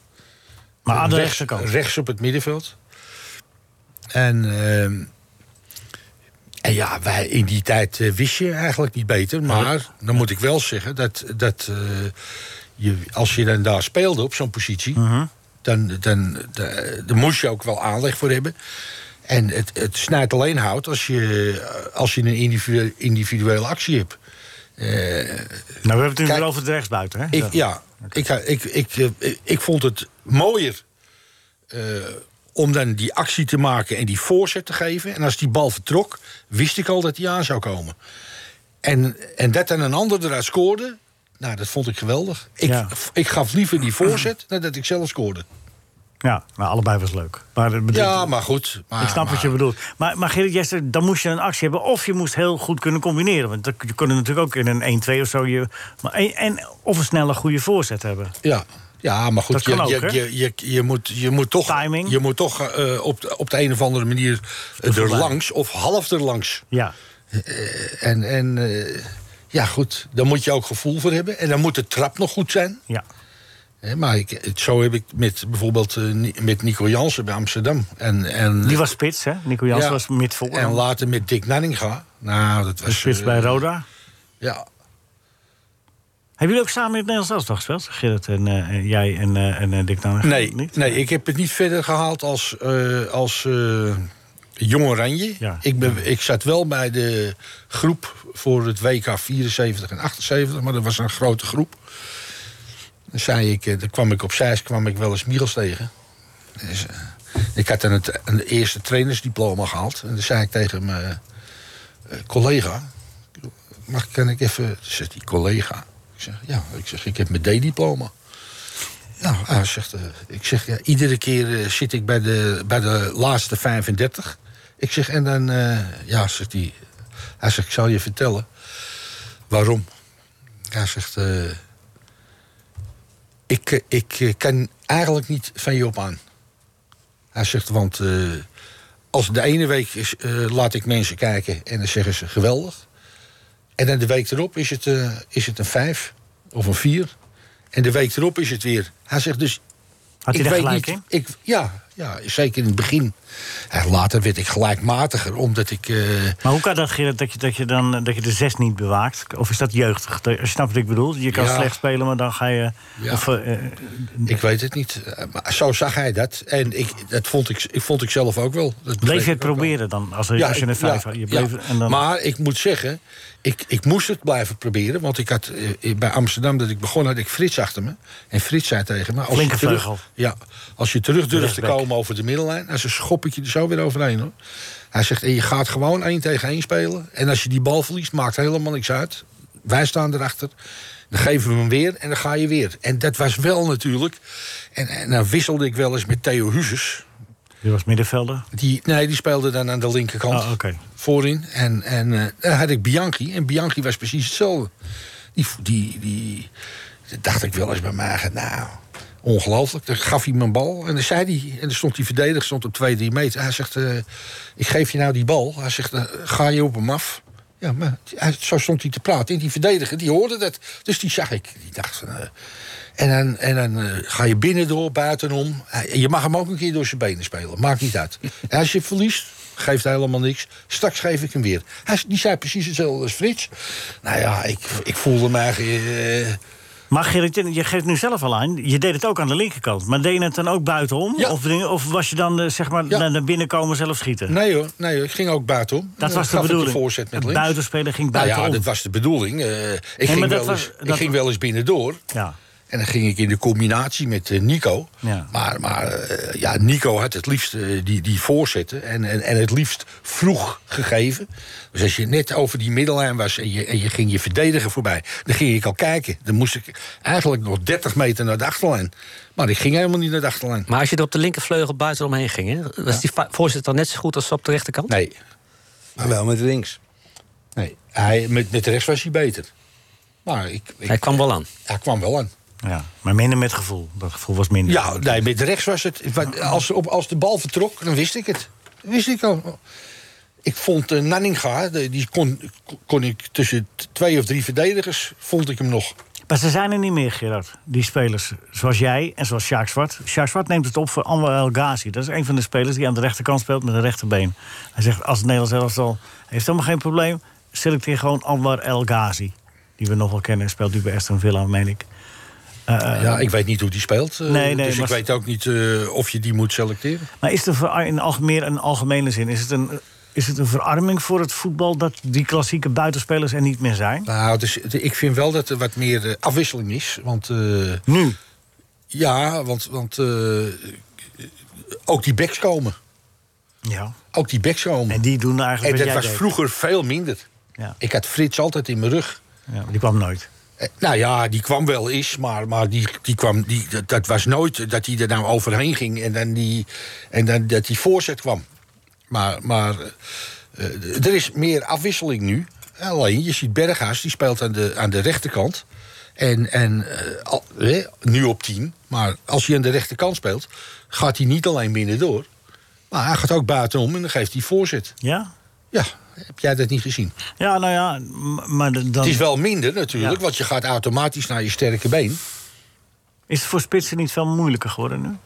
Maar aan de Rechts- rechterkant? Rechts op het middenveld. En, ehm, en ja, wij in die tijd eh, wist je eigenlijk niet beter. Maar dan moet ik wel zeggen dat, dat eh, je, als je dan daar speelde op zo'n positie... Mhm. dan, dan, dan, dan moest je ook wel aanleg voor hebben. En het, het snijdt alleen hout als je, eh, als je een individu- individuele actie hebt. Nou, we hebben het nu weer over het rechtsbuiten, hè? Ik, ja, ik, ik, ik, eh, ik vond het mooier eh, om dan die actie te maken en die voorzet te geven. En als die bal vertrok, wist ik al dat die aan zou komen. En, en dat dan een ander eruit scoorde, nou, dat vond ik geweldig. Ik, ik gaf liever die voorzet dan dat ik zelf scoorde. Ja, nou, allebei was leuk. Maar, dat bedoelt- Ja, maar goed. Maar, ik snap Ah, maar- wat je bedoelt. Maar, maar Gerrit Jester, dan moest je een actie hebben... of je moest heel goed kunnen combineren. Want dat- je kon er natuurlijk ook in een 1-2 of zo... Je, maar een- en, of een snelle goede voorzet hebben. Ja. Ja, maar Dat goed, kan je, ook, je, hè? je, je, je moet, je moet toch, je moet toch eh, op, de- op de een of andere manier eh, er Voorbij. langs of half er langs. Ja. en en eh, ja, goed, daar moet je ook gevoel voor hebben. En dan moet de trap nog goed zijn. Ja. Hè, maar ik, het- zo heb ik met bijvoorbeeld eh, Ni- met Nico Jansen bij Amsterdam. En, en, Die was spits, hè? Nico Jansen Ja. was mid voor. En later met Dick Nanninga. Nou, dat De was... spits eh, bij Roda. Ja. Hebben jullie ook samen in het Nederlands elftal gespeeld? Gerrit en eh, en jij en, eh, en eh, Dick Nanninga? Nee, nee, ik heb het niet verder gehaald als, eh, als eh, Jong Oranje. Ik, ben, ik zat wel bij de groep voor het WK 74 en 78, maar dat was een grote groep. Dan zei ik, eh, dan kwam ik op Zeist, kwam ik wel eens Michels tegen. Dus, eh, ik had dan het een eerste trainersdiploma gehaald. En dan zei ik tegen mijn eh, collega, mag, kan ik even... Zegt die collega. Ik zeg, ja, ik zeg, ik heb mijn D-diploma. Nou, hij zegt, eh, ik zeg, ja, iedere keer eh, zit ik bij de, bij de laatste 35. Ik zeg, en dan, eh, ja, zegt hij... Hij zegt, ik zal je vertellen waarom. Hij zegt, eh, ik, eh, ik eh, kan eigenlijk niet van je op aan. Hij zegt, want eh, als de ene week is, eh, laat ik mensen kijken en dan zeggen ze geweldig. En dan de week erop is het, eh, is het een vijf of een vier. En de week erop is het weer. Hij zegt dus. Had hij ik daar weet gelijk niet, in? ik, ja, ja, zeker in het begin. En later werd ik gelijkmatiger, omdat ik. eh, Maar hoe kan dat, Gerrit, dat je, dat, je dan, eh, dat je de zes niet bewaakt? Of is dat jeugdig? Dat- Je snapt wat ik bedoel? Je kan Ja. slecht spelen, maar dan ga je... Ja. Of, eh, eh, ik weet het niet. Eh, Maar zo zag hij dat. En ik, dat vond ik, ik, vond ik zelf ook wel. Dat begreep bleef je ik het ook wel. proberen dan? Als, er- als je ik- een vijf ja, had. Je ja. bleef, en dan, Maar ik moet zeggen, ik, ik moest het blijven proberen. Want ik had eh, eh, bij Amsterdam, dat ik begon, had ik Frits achter me. En Frits zei tegen me... Als Flinke je terug, vleugel. Ja, als je terug durft te Rechtsback. komen over de middenlijn... dan schop ik je er zo weer overheen, hoor. Hij zegt, en je gaat gewoon één tegen één spelen. En als je die bal verliest, maakt helemaal niks uit. Wij staan erachter. Dan geven we hem weer en dan ga je weer. En dat was wel natuurlijk... En, en dan wisselde ik wel eens met Theo Huzes... je was middenvelder. Die, nee, die speelde dan aan de linkerkant. Ah, oké. Voorin. En, en eh, daar had ik Bianchi. En Bianchi was precies hetzelfde. Die, vo- die, die dat dacht ik wel eens bij mij. eigen, Nou, ongelooflijk. Dan gaf hij me een bal. En dan zei hij... En dan stond die verdediger stond op 2, 3 meter. Hij zegt, eh, ik geef je nou die bal. Hij zegt, eh, ga je op hem af? Ja, maar hij- zo stond hij te praten. En die verdediger, die hoorde dat. Dus die zag ik. Die dacht van... eh, en dan, en dan eh, ga je binnen door, buitenom. Eh, Je mag hem ook een keer door zijn benen spelen. Maakt niet uit. En als je verliest, geeft hij helemaal niks. Straks geef ik hem weer. Hij, die zei precies hetzelfde als Frits. Nou ja, ik, ik voelde me eigenlijk... eh, Maar Gerrit, je je geeft nu zelf al aan. Je deed het ook aan de linkerkant. Maar deed je het dan ook buitenom? Of, ding- of was je dan, eh, zeg maar, naar naar binnen komen zelf schieten? Nee hoor, nee hoor, ik ging ook buitenom. Dat Nou, Eh, was de gaf ik bedoeling. voorzet met Een links. buitenspeler ging Nou ja, buitenom. dat was de bedoeling. Eh, ik maar ging, dat wel, was- eens, ik dat- ging wel eens binnendoor. Ja. En dan ging ik in de combinatie met eh, Nico. Ja. Maar, maar eh, ja, Nico had het liefst eh, die, die voorzetten. En, en, en het liefst vroeg gegeven. Dus als je net over die middellijn was en je, en je ging je verdediger voorbij... dan ging ik al kijken. Dan moest ik eigenlijk nog 30 meter naar de achterlijn. Maar ik ging helemaal niet naar de achterlijn. Maar als je er op de linkervleugel buiten omheen ging, hè, was die va- voorzitter dan net zo goed als op de rechterkant? Nee. Maar wel met links. Nee, hij, met, met rechts was hij beter. Maar ik, ik- Hij kwam wel aan. Hij kwam wel aan. Ja, maar minder met gevoel. Dat gevoel was minder. Ja, nee, met rechts was het. wa- Als, op, als de bal vertrok, dan wist ik het. Dat wist ik al. Ik vond eh, Nanninga, de- die kon, kon ik tussen t- twee of drie verdedigers, vond ik hem nog. Maar ze zijn er niet meer, Gerard. Die spelers, zoals jij en zoals Sjaak Zwart. Sjaak Zwart neemt het op voor Anwar El Ghazi. Dat is een van de spelers die aan de rechterkant speelt met een rechterbeen. Hij zegt, als het Nederlands elftal heeft helemaal geen probleem... selecteer gewoon Anwar El Ghazi. Die we nog wel kennen, speelt nu bij Aston Villa, meen ik. Eh, eh, ja, ik weet niet hoe die speelt. eh, Nee, nee, dus maar- ik weet ook niet eh, of je die moet selecteren. Maar is er voor- in alge- meer een algemene zin... Is het een, is het een verarming voor het voetbal dat die klassieke buitenspelers er niet meer zijn? Nou, dus, ik vind wel dat er wat meer eh, afwisseling is. Want, eh, nu? Ja, want, want eh, ook die backs komen. Ja. Ook die backs komen. En die doen En eigenlijk dat wat was jij deed. vroeger veel minder. Ja. Ik had Frits altijd in mijn rug. Ja, maar die kwam nooit. Eh, Nou ja, die kwam wel eens, maar, maar die, die kwam, die, dat, dat was nooit dat hij er nou overheen ging en, dan die, en dan, dat die voorzet kwam. Maar, maar eh, eh, er is meer afwisseling nu. Alleen, je ziet Berghuis, die speelt aan de, aan de rechterkant. En, en eh, al- hè, nu op 10. Maar als hij aan de rechterkant speelt, gaat hij niet alleen binnendoor. Maar hij gaat ook buitenom en dan geeft hij voorzet. Ja? Ja, heb jij dat niet gezien? Ja, nou ja, m- maar d- dan... Het is wel minder natuurlijk, Ja. want je gaat automatisch naar je sterke been. Is het voor spitsen niet veel moeilijker geworden nu?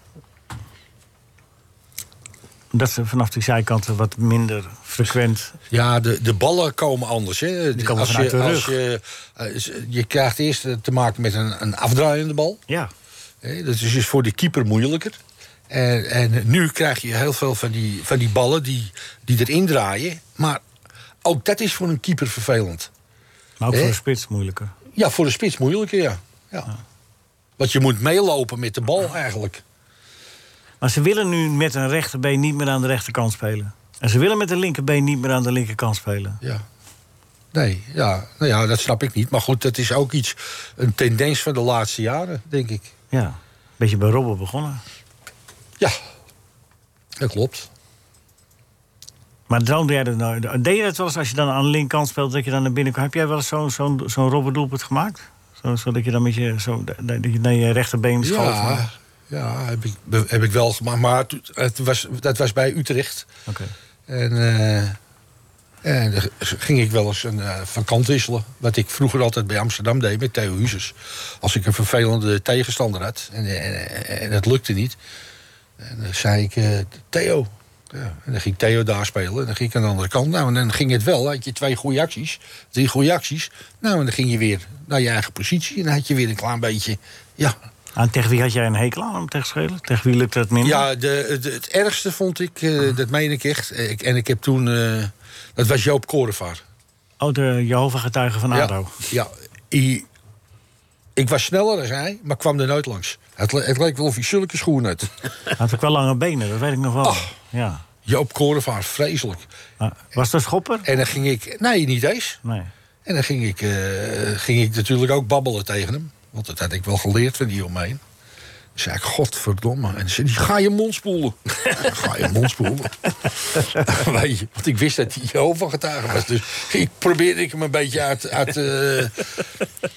Dat ze vanaf die zijkanten wat minder frequent. Ja, de, de ballen komen anders. Hè. Die komen als vanuit je, de als rug. je, eh, z- je krijgt eerst eh, te maken met een, een afdraaiende bal. Ja. Hè, dat is dus voor de keeper moeilijker. En, en nu krijg je heel veel van die, van die ballen die, die erin draaien. Maar ook dat is voor een keeper vervelend. Maar ook voor Hè? een spits moeilijker. Ja, voor de spits moeilijker, ja. ja. Want je moet meelopen met de bal eigenlijk. Maar ze willen nu met een rechterbeen niet meer aan de rechterkant spelen. En ze willen met een linkerbeen niet meer aan de linkerkant spelen. Ja. Nee, ja, nou ja, dat snap ik niet. Maar goed, dat is ook iets, een tendens van de laatste jaren, denk ik. Ja, beetje bij Robben begonnen. Ja, dat klopt. Maar droomde jij dat nou? Deed je dat wel eens als je dan aan de linkerkant speelt, dat je dan naar binnen kwam? Heb jij wel eens zo'n zo'n zo'n Robben doelpunt gemaakt? Zo, zodat je dan met je, zo, dat je naar je rechterbeen schoof? Ja, ja heb, ik, be- heb ik wel gemaakt. Maar het, het was, dat was bij Utrecht. Oké. En, eh, en dan ging ik wel eens een, eh, van kant wisselen. Wat ik vroeger altijd bij Amsterdam deed met Theo Huzes. Als ik een vervelende tegenstander had en, eh, en, en het lukte niet. En dan zei ik, eh, Theo. Ja, en dan ging Theo daar spelen en dan ging ik aan de andere kant. Nou, en dan ging het wel. Dan had je twee goede acties, drie goede acties. Nou, en dan ging je weer naar je eigen positie. En dan had je weer een klein beetje, ja, Aan Ah, tegen wie had jij een hekel aan om tegen te schelen? Tegen wie lukte dat minder? ja, de, de- het ergste vond ik, eh, dat meen ik echt. Eh, Ik, en ik heb toen, eh, dat was Joop Korevaar. Oh, de Jehovah-getuigen van ADO. Ja, i- ik was sneller dan hij, maar kwam er nooit langs. Het, le- het leek wel of hij zulke schoenen had. Had ook wel lange benen, dat weet ik nog wel. Oh. Ja. Joop Korevaar, vreselijk. was dat schopper? En dan ging ik, nee, niet eens. Nee. En dan ging ik, eh, ging ik natuurlijk ook babbelen tegen hem. Want dat had ik wel geleerd van die omheen. Dan zei ik, godverdomme. En dan zei hij, ga je mond spoelen. ga je mond spoelen. Weet je, want ik wist dat hij Jehovah getuige was. Dus ik probeerde ik hem een beetje uit... uit eh,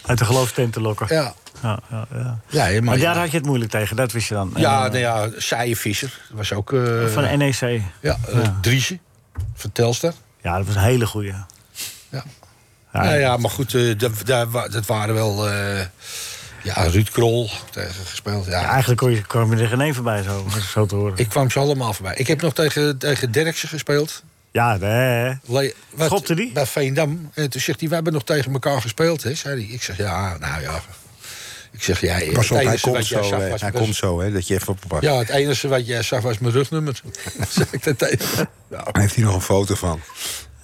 Uit de geloofstent te lokken. Ja. Ja, ja, ja. Ja, hè, maar- Want daar had je het moeilijk tegen, dat wist je dan. ja, En, Eh, nou ja, Saaie Visser. Dat was ook... Oh, eh, Van E NEC. Ja, Ja, eh, Driesje. Van Telstar. Ja, dat was een hele goeie. Ja. Ja, Nou ja, maar goed, eh, dat, daar wa- dat waren wel... eh, ja, Ruud Krol tegen gespeeld. Ja, Eigenlijk kon je, kwam je er geen één voorbij, zo, zo te horen. Ik kwam ze allemaal voorbij. Ik heb nog tegen, tegen Derksen gespeeld. Ja, nee. Le- wat- Bij Veendam. En toen zegt hij, we hebben nog tegen elkaar gespeeld, hè? Zei hij. Ik zeg, ja, nou ja. Ik zeg, jij... Pas op, het hij enige komt wat jij zo, zag hè. was- hij was- komt zo hè, dat je even oppakt. Ja, het enige wat jij zag was mijn rugnummer. Zeg ik dat tegen. Hij heeft hier nog een foto van.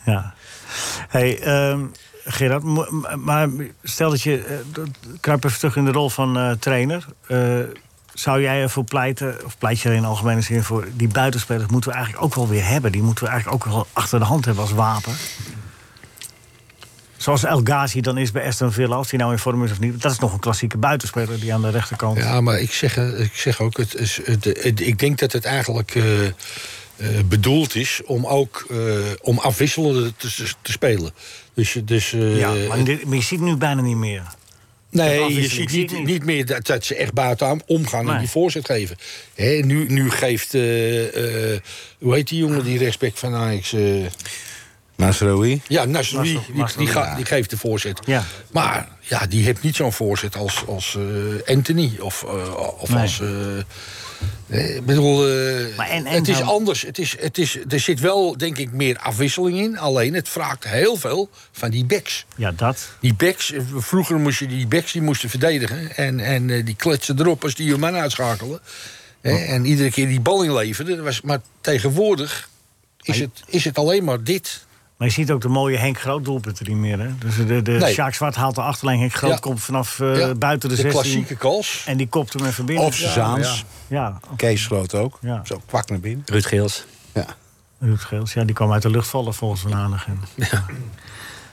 Ja. hey, ehm, Gerard, mo- m- maar stel dat je... eh, dat- kruip even terug in de rol van eh, trainer. Eh, zou jij ervoor pleiten, of pleit je er in algemene zin voor... die buitenspelers moeten we eigenlijk ook wel weer hebben. Die moeten we eigenlijk ook wel achter de hand hebben als wapen. Zoals El Ghazi dan is bij Aston Villa, als hij nou in vorm is of niet. Dat is nog een klassieke buitenspeler die aan de rechterkant... Ja, maar ik zeg, eh, ik zeg ook, het is, het- het- ik denk dat het eigenlijk eh, eh, bedoeld is om ook eh, om afwisselende te, te- te spelen. Dus, je- dus, eh, Ja, maar, dit- maar je ziet het nu bijna niet meer. Nee, je afwisseling ziet zie ik niet, niet. niet meer dat, dat ze echt buiten aan- omgaan Nee. en die voorzet geven. Hè, nu, nu geeft, eh, eh, hoe heet die jongen die rechtsback van Ajax? eh, Nasraoui. ja, Nasri, die, Nasr- die, Nasr- ga- ja. die geeft de voorzet. Ja. Maar ja, die heeft niet zo'n voorzet als, als eh, Anthony of, eh, of Nee. als... eh, eh, ik bedoel, eh, en- en het is dan- anders. Het is, het is, er zit wel, denk ik, meer afwisseling in. Alleen het vraagt heel veel van die backs. Ja, dat. Die backs, eh, vroeger moest je die backs die moesten verdedigen. En, en eh, die kletsen erop als die je man uitschakelen. Hè, en iedere keer die bal inleveren. Dat was, maar tegenwoordig is het, is het alleen maar dit. Maar je ziet ook de mooie Henk Groot doelpunten niet meer. Hè? Dus de, de Nee. Sjaak Zwart haalt de achterlijn. Henk Groot Ja. komt vanaf eh, Ja, buiten de, de 16. klassieke kals. En die kopt hem even binnen. Of Zaans. Ja, Kees Groot ook. Ja. Zo kwak naar binnen. Ruud Geels. Ruud Geels. Ja, die kwam uit de lucht vallen volgens Van Hanegem. Ja.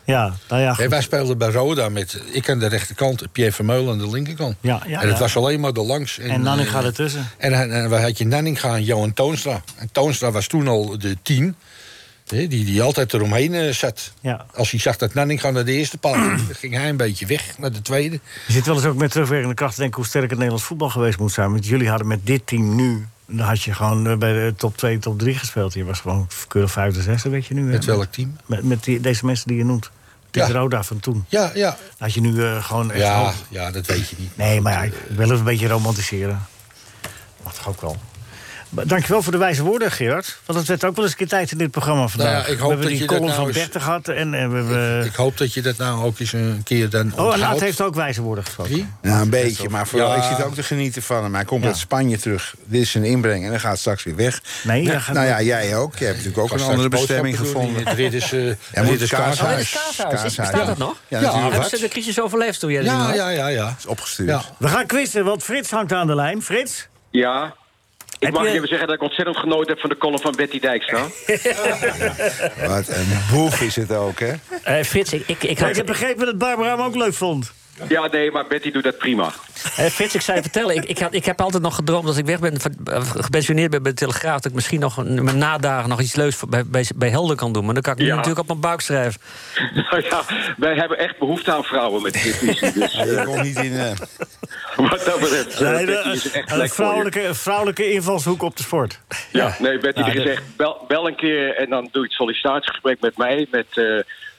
ja, nou ja. Hè, goed. wij speelden bij Roda met ik aan de rechterkant, Pierre Vermeulen aan de linkerkant. Ja, ja, en het ja. was alleen maar de langs. En Nanninga eh, ertussen. En, en, en waar had je Nanninga en Johan Toonstra. En Toonstra was toen al de tien. hè, Die, die altijd eromheen eh, zat. Ja. Als hij zag dat Nanninga naar de eerste paal ging, dan ging hij een beetje weg naar de tweede. Je zit wel eens ook met terugwerkende kracht te denken hoe sterk het Nederlands voetbal geweest moet zijn. Want jullie hadden met dit team nu. Dan had je gewoon eh, bij de top 2, top 3 gespeeld. Je was gewoon keurig vijfde, zesde, weet je nu. hè? Met welk team? Met, met die- deze mensen die je noemt. Dit Roda van toen. Ja, ja. Dan Had je nu eh, gewoon echt Ja, hoog- ja, dat weet je niet. Nee, maar ja, ik wil even een beetje romantiseren. Mag toch ook wel. Maar Dankjewel voor de wijze woorden, Gerard. Want het werd ook wel eens een keer tijd in dit programma vandaag. Nou ja, ik hoop we hebben dat die je dat column nou van eens- 30 gehad en, en we hebben... Ik hoop dat je dat nou ook eens een keer Eh. dan Oh, en Aad onthoudt. heeft ook wijze woorden gesproken. Nou, een beetje, maar vooral, Ja. ik zit ook te genieten van hem. Hij komt Ja. uit Spanje terug. Dit is een inbreng en hij gaat straks weer weg. Nee, hij nou, gaat- nou ja, jij ook. Jij hebt natuurlijk ook Ik een ga andere straks bestemming boodschappen doen gevonden. in het Ridders, eh, Hij moet Ridders het Kaashuis. kaashuis. Oh, Kaashuis, ja. Ja, natuurlijk. Hebben ze de crisis overleefd toen jij er niet Ja, was? ja, ja, ja. Is opgestuurd. Ja. We gaan quizzen, want Frits hangt aan de lijn. Frits? Ja, Ik mag je- je even zeggen dat ik ontzettend genoten heb van de column van Betty Dijkstra. Wat een boef is het ook, hè? Eh, Frits, ik, ik, ik Maar had... ik heb begrepen dat Barbara hem ook leuk vond. Ja, nee, maar Betty doet dat prima. Eh, Frits, ik zou je vertellen, ik, ik, had, ik heb altijd nog gedroomd als ik weg ben, van- eh, gepensioneerd ben bij de Telegraaf, dat ik misschien nog een- mijn nadagen nog iets leuks voor- bij, bij, bij Helder kan doen. Maar dan kan ik nu Ja. natuurlijk op mijn buik schrijven. Nou ja, wij hebben echt behoefte aan vrouwen met dit visie. Dus, ik kom niet in. eh, Wat dat betreft. eh, Nee, de- Betty is echt een lekker voor je. vrouwelijke, vrouwelijke invalshoek op de sport. Ja, nee, Betty, Ja, er is dat- echt. Bel, bel een keer en dan doe je het sollicitatiegesprek met mij, met eh,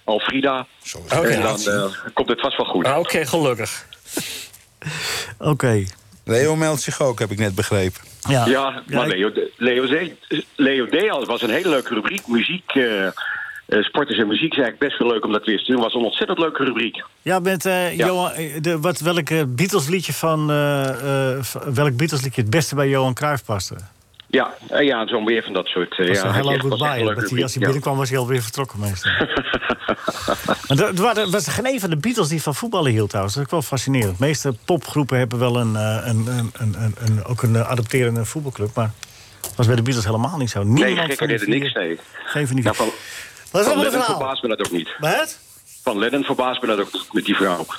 Alfrida. Oké. En dan eh, komt het vast wel goed. Oké, gelukkig. Oké. Leo meldt zich ook, heb ik net begrepen. Ja, maar Leo, Leo, Z- Leo D. al was een hele leuke rubriek. Muziek, eh, eh, sporters en muziek is eigenlijk best wel leuk om dat weer te doen. was een ontzettend leuke rubriek. Ja, met eh, Ja. Johan, eh, de, wat, welk eh, Beatles-liedje van... eh, eh, v- welk Beatles-liedje het beste bij Johan Cruijff paste? Ja, eh, ja zo'n weer van dat soort. eh, Was ja, dat had je Hello echt- was echt Goodbye. een leuke Dat hij, als rubriek, hij binnenkwam was hij alweer vertrokken meestal. maar er, er waren- er was geen een van de Beatles die van voetballen hield trouwens. Dat is ook wel fascinerend. De meeste popgroepen hebben wel een, eh, een, een, een, een, een- ook een eh, adopterende voetbalclub. Maar dat was bij de Beatles helemaal niet zo. ja. Niemand Nee, gekker van die deden vier- niks, nee. Geen van die Nou, van, Wat is van allemaal een Lennon verhaal? verbaast me dat ook niet. Wat? Van Lennon verbaast me dat ook niet, met die vrouw.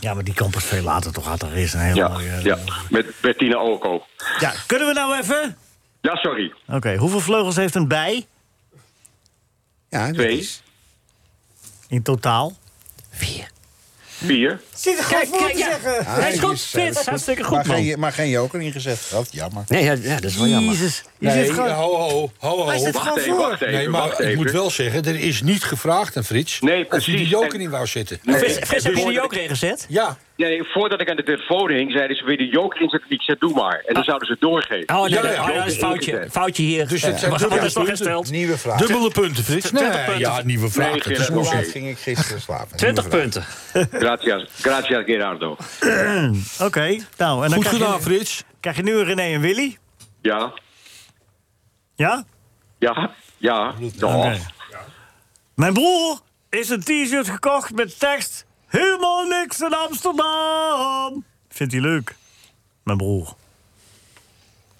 Ja, maar die kan pas veel later toch had er is een hele Ja, mooie... eh, ja, met Bettina Olko. Ja, kunnen we nou even? Ja, sorry. Oké, hoeveel vleugels heeft een bij? Ja, Twee, In totaal? vier. Zit er Kijk, kijk, ja. Ah, Hij is goed, die Frits. eh, Hartstikke goed, maar man. Geen, maar geen joker ingezet. Dat jammer. Nee, ja, ja, dat is Oh, wel jammer. Jezus. Je zit Nee, gewoon- ho, ho, ho, ho. Hij zit Wacht gewoon even, voor. wacht even, nee, maar wacht ik even. moet wel zeggen, er is niet gevraagd aan Frits... of hij die precies. joker En- in wou zitten. Nee. Frits- Frits, heb je die joker ingezet? Ja. Nee, voordat ik aan de telefoon hing, zeiden ze weer de joker inzetten. Ik zei, doe maar. En dan zouden ze het doorgeven. Oh, nee, Ja, dat- ja, oh, dat is joker een foutje, ingezet. foutje hier. Eh, Dus het zijn Wat dubbele is nog punten. gesteld? Nieuwe vraag. Dubbele punten, Frits. Nee, 20 punten. ja, nieuwe vraag. Nee, Het is Dus Gerard, nog oké. steeds- Dat ging ik gisteren slapen. 20 punten. Gracias, gracias Gerardo. Oké, nou... En dan Goed krijg je- gedaan, Frits. Krijg je nu een René en Willy? Ja, Ja? ja, ja. Oh. ja. Mijn broer is een t-shirt gekocht met tekst... Helemaal niks in Amsterdam. Vindt hij leuk? Mijn broer.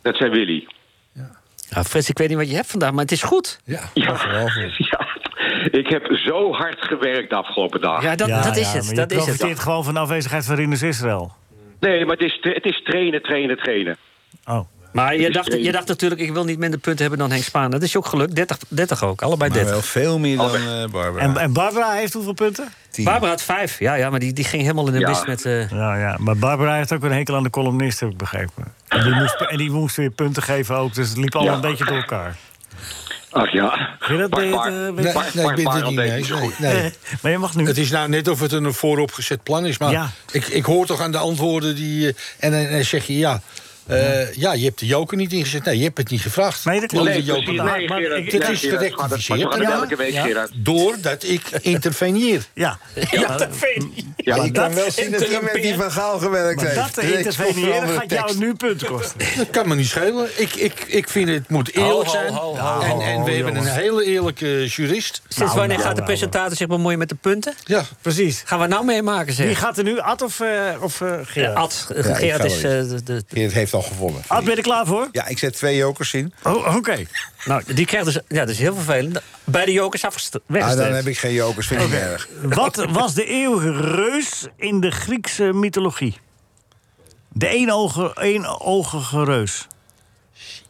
Dat zei Willy. Ja, Nou, Frits, ik weet niet wat je hebt vandaag, maar het is goed. Ja, Ja. ja. Ik heb zo hard gewerkt de afgelopen dagen. Ja, dat- dat is maar het. je Dat is profiteert het. gewoon van de afwezigheid van Rinus Israël. Nee, maar het is, het is trainen, trainen, trainen. Oh. Maar Dus je dacht, je dacht natuurlijk, ik wil niet minder punten hebben dan Henk Spaan. Dat is je ook gelukt. 30, 30 ook, allebei Maar 30. wel veel meer dan eh, Barbara. En, en Barbara heeft hoeveel punten? Barbara had vijf. Ja, ja maar die, die ging helemaal in de Ja. mist met... eh, Ja, ja, maar Barbara heeft ook een hekel aan de columnist, heb ik begrepen. En die moest, en die moest weer punten geven ook, dus het liep allemaal Ja. een beetje door elkaar. Ach ja. Vind je dat Bart deed, Baar- eh, Nee, weet- Bart- nee, ik Bart ben het Barend niet deed mee. niet zo Nee, goed. nee. Maar je mag nu. Het is nou net of het een vooropgezet plan is. Maar Hm. Ja. ik, ik hoor toch aan de antwoorden die... eh, En dan dan zeg je ja. eh, ja, je hebt de joker niet ingezet. Nee, je hebt het niet gevraagd. Nee, dat Wil je klopt. de joker Nee, niet? precies. Nee, Gerard. Dit Nee, is Gerard. Maar gerectificeerd. dat gaat daarna. elke week, Gerard. Doordat ik interveneer. Ja. Ja, dat Mm. Ja, maar je kan dat wel zien dat hij met die van Gaal gewerkt Maar heeft. dat te Er is onder interveneren andere gaat jou tekst. nu punten kosten. Dat kan me niet schelen. Ik, ik, ik vind het moet eerlijk zijn. en en we hebben een hele eerlijke jurist. Nou, Sinds wanneer gaat de presentator zich bemoeien met de punten? Ja, precies. Gaan we nou meemaken, zeg. Wie gaat er nu, Ad of, eh, of eh, Gerard? Eh, Ad, eh, Ja, ik Gerard ga is... wel eh, de, de- Geert heeft al gewonnen. Ad, ben je er klaar voor? Ja, ik zet twee jokers in. Oh, oké. nou, die krijgt dus... Ja, dat is heel vervelend. Bij de jokers afgest- Ah, dan weggestreept. heb ik geen jokers, vind ik erg. Wat was de eeuwige reus in de Griekse mythologie? De eenoge, eenogige reus.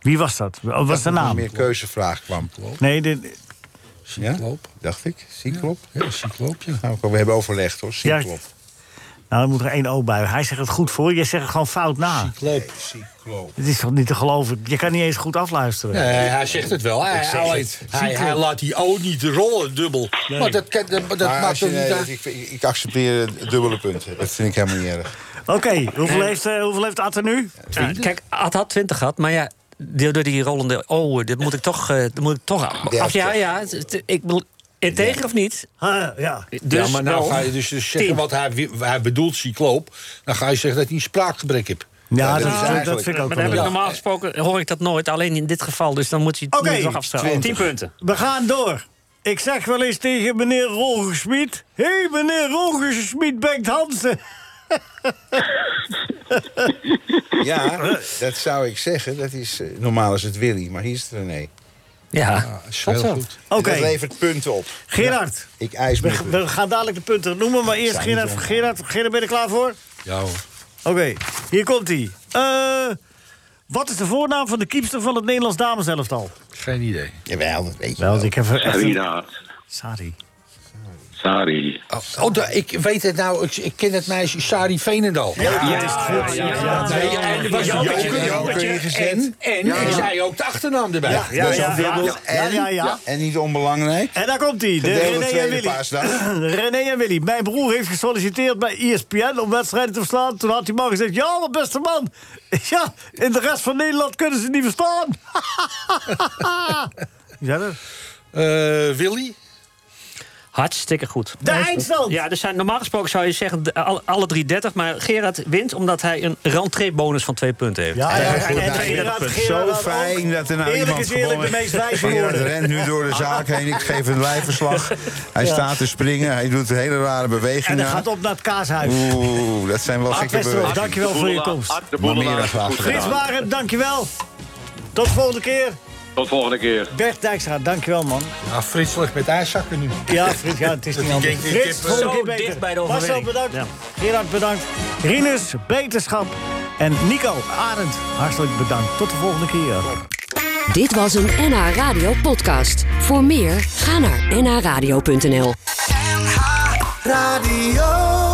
Wie was dat? Wat was de Dat er naam? Meer keuzevraag kwam. Nee, de, Ja, dacht ik. Cyclop. Ja, cyclop, We hebben overlegd, hoor. Ja. Cyclop. Nou, er moet er één O bij. Hij zegt het goed voor, jij zegt het gewoon fout na. Klopt. Het is toch niet te geloven? Je kan niet eens goed afluisteren. Nee, Eh, hij zegt het wel. Hij, Ik zeg hij- het. hij- hij laat die O niet rollen, dubbel. Maar eh, dat, kan- dat, dat Maar maakt als je- toch niet nee, uit. dat- ik, ik, ik accepteer dubbele punten. Dat vind ik helemaal niet erg. Oké, hoeveel, heeft, eh, hoeveel heeft Atta nu? Ja, kijk, Ad had 20 gehad, maar ja... die- Door die rollende oh, dat moet ik toch, eh, dat moet ik toch af. Ja, af- ja, ja, het- het- ik bedoel, integer of niet? Ah, ja. Dus ja, maar nou wel. ga je dus, dus zeggen Tien. wat hij, wi- hij bedoelt, cycloop. Dan ga je zeggen dat hij een spraakgebrek heeft. Ja, dat dat, is dat eigenlijk- vind ik ook Maar dan wel. heb ik leuk. normaal gesproken hoor ik dat nooit. Alleen in dit geval, dus dan moet je Oké, het nog afstraffen. 10 20. punten. We gaan door. Ik zeg wel eens tegen meneer Rogersmied... Hé, hey, meneer Rogersmied Bengt Hansen. Ja, dat zou ik zeggen. Dat is, eh, normaal is het Willy, maar hier is het René. Ja, dat is heel Wat zo? goed. Oké. Dat levert punten op. Gerard. Ja, ik eis me. We, we gaan dadelijk de punten noemen, maar eerst Zijn Gerard. niet Gerard, Gerard, ben je er klaar voor? Ja hoor. Oké, hier komt hij. Eh, wat is de voornaam van de kiepster van het Nederlands dameselftal? Geen idee. Jawel, dat weet je wel. Ik heb er echt een- Sarina. Sari. Sari. Oh, da- ik weet het nou. Ik, ik ken het meisje Sari Veenendal. Ja, ja, ja, ja. Nee, en er was Jokertje, Jokertje, Jokertje en- gezet. En Ja, ik ja. zei ook de achternaam erbij. Ja, dat is ja, een voorbeeld. ja, ja, En- ja, ja. En niet onbelangrijk. En daar komt hij, de Gedeelde René en tweede Willy. paasdag. René en Willy. Mijn broer heeft gesolliciteerd bij E ESPN om wedstrijden te verslaan. Toen had die man gezegd, ja, mijn beste man. Ja, in de rest van Nederland kunnen ze niet verstaan. Ja, dat... Eh, Willy? Hartstikke goed. De eindstand! Ja, er zijn, normaal gesproken zou je zeggen de- al- alle 330, maar Gerard wint omdat hij een rentrée-bonus van twee punten heeft. Ja, ja, Hij en- heeft en- Gerard- punten. Gerard had Zo fijn ook- dat er nou eerlijk iemand is eerlijk, gewonnen de meest wijze Gerard geworden. rent nu door de zaak heen. Ik geef een lijfverslag. Hij Ja. staat te springen. Hij doet hele rare En bewegingen. dan gaat op naar het kaashuis. Oeh, dat zijn wel Art gekke Westerhof, bewegingen. dankjewel voor je komst. Art de Boedelaar. Maar meer dan graag Goed Frits gedaan. Waren, dankjewel. Tot de volgende keer. Tot volgende keer. Bert Dijkstra, dankjewel man. Ja, Frits ligt Nou, met ijszakken nu. Ja, Frits, ja, het is niet anders. Frits, volgende keer beter. Marcel, bedankt. Gerard, bedankt. Rinus, beterschap. En Nico, Arend, hartelijk bedankt. Tot de volgende keer. Dit was een NH Radio podcast. Voor meer, ga naar nhradio.nl. Radio.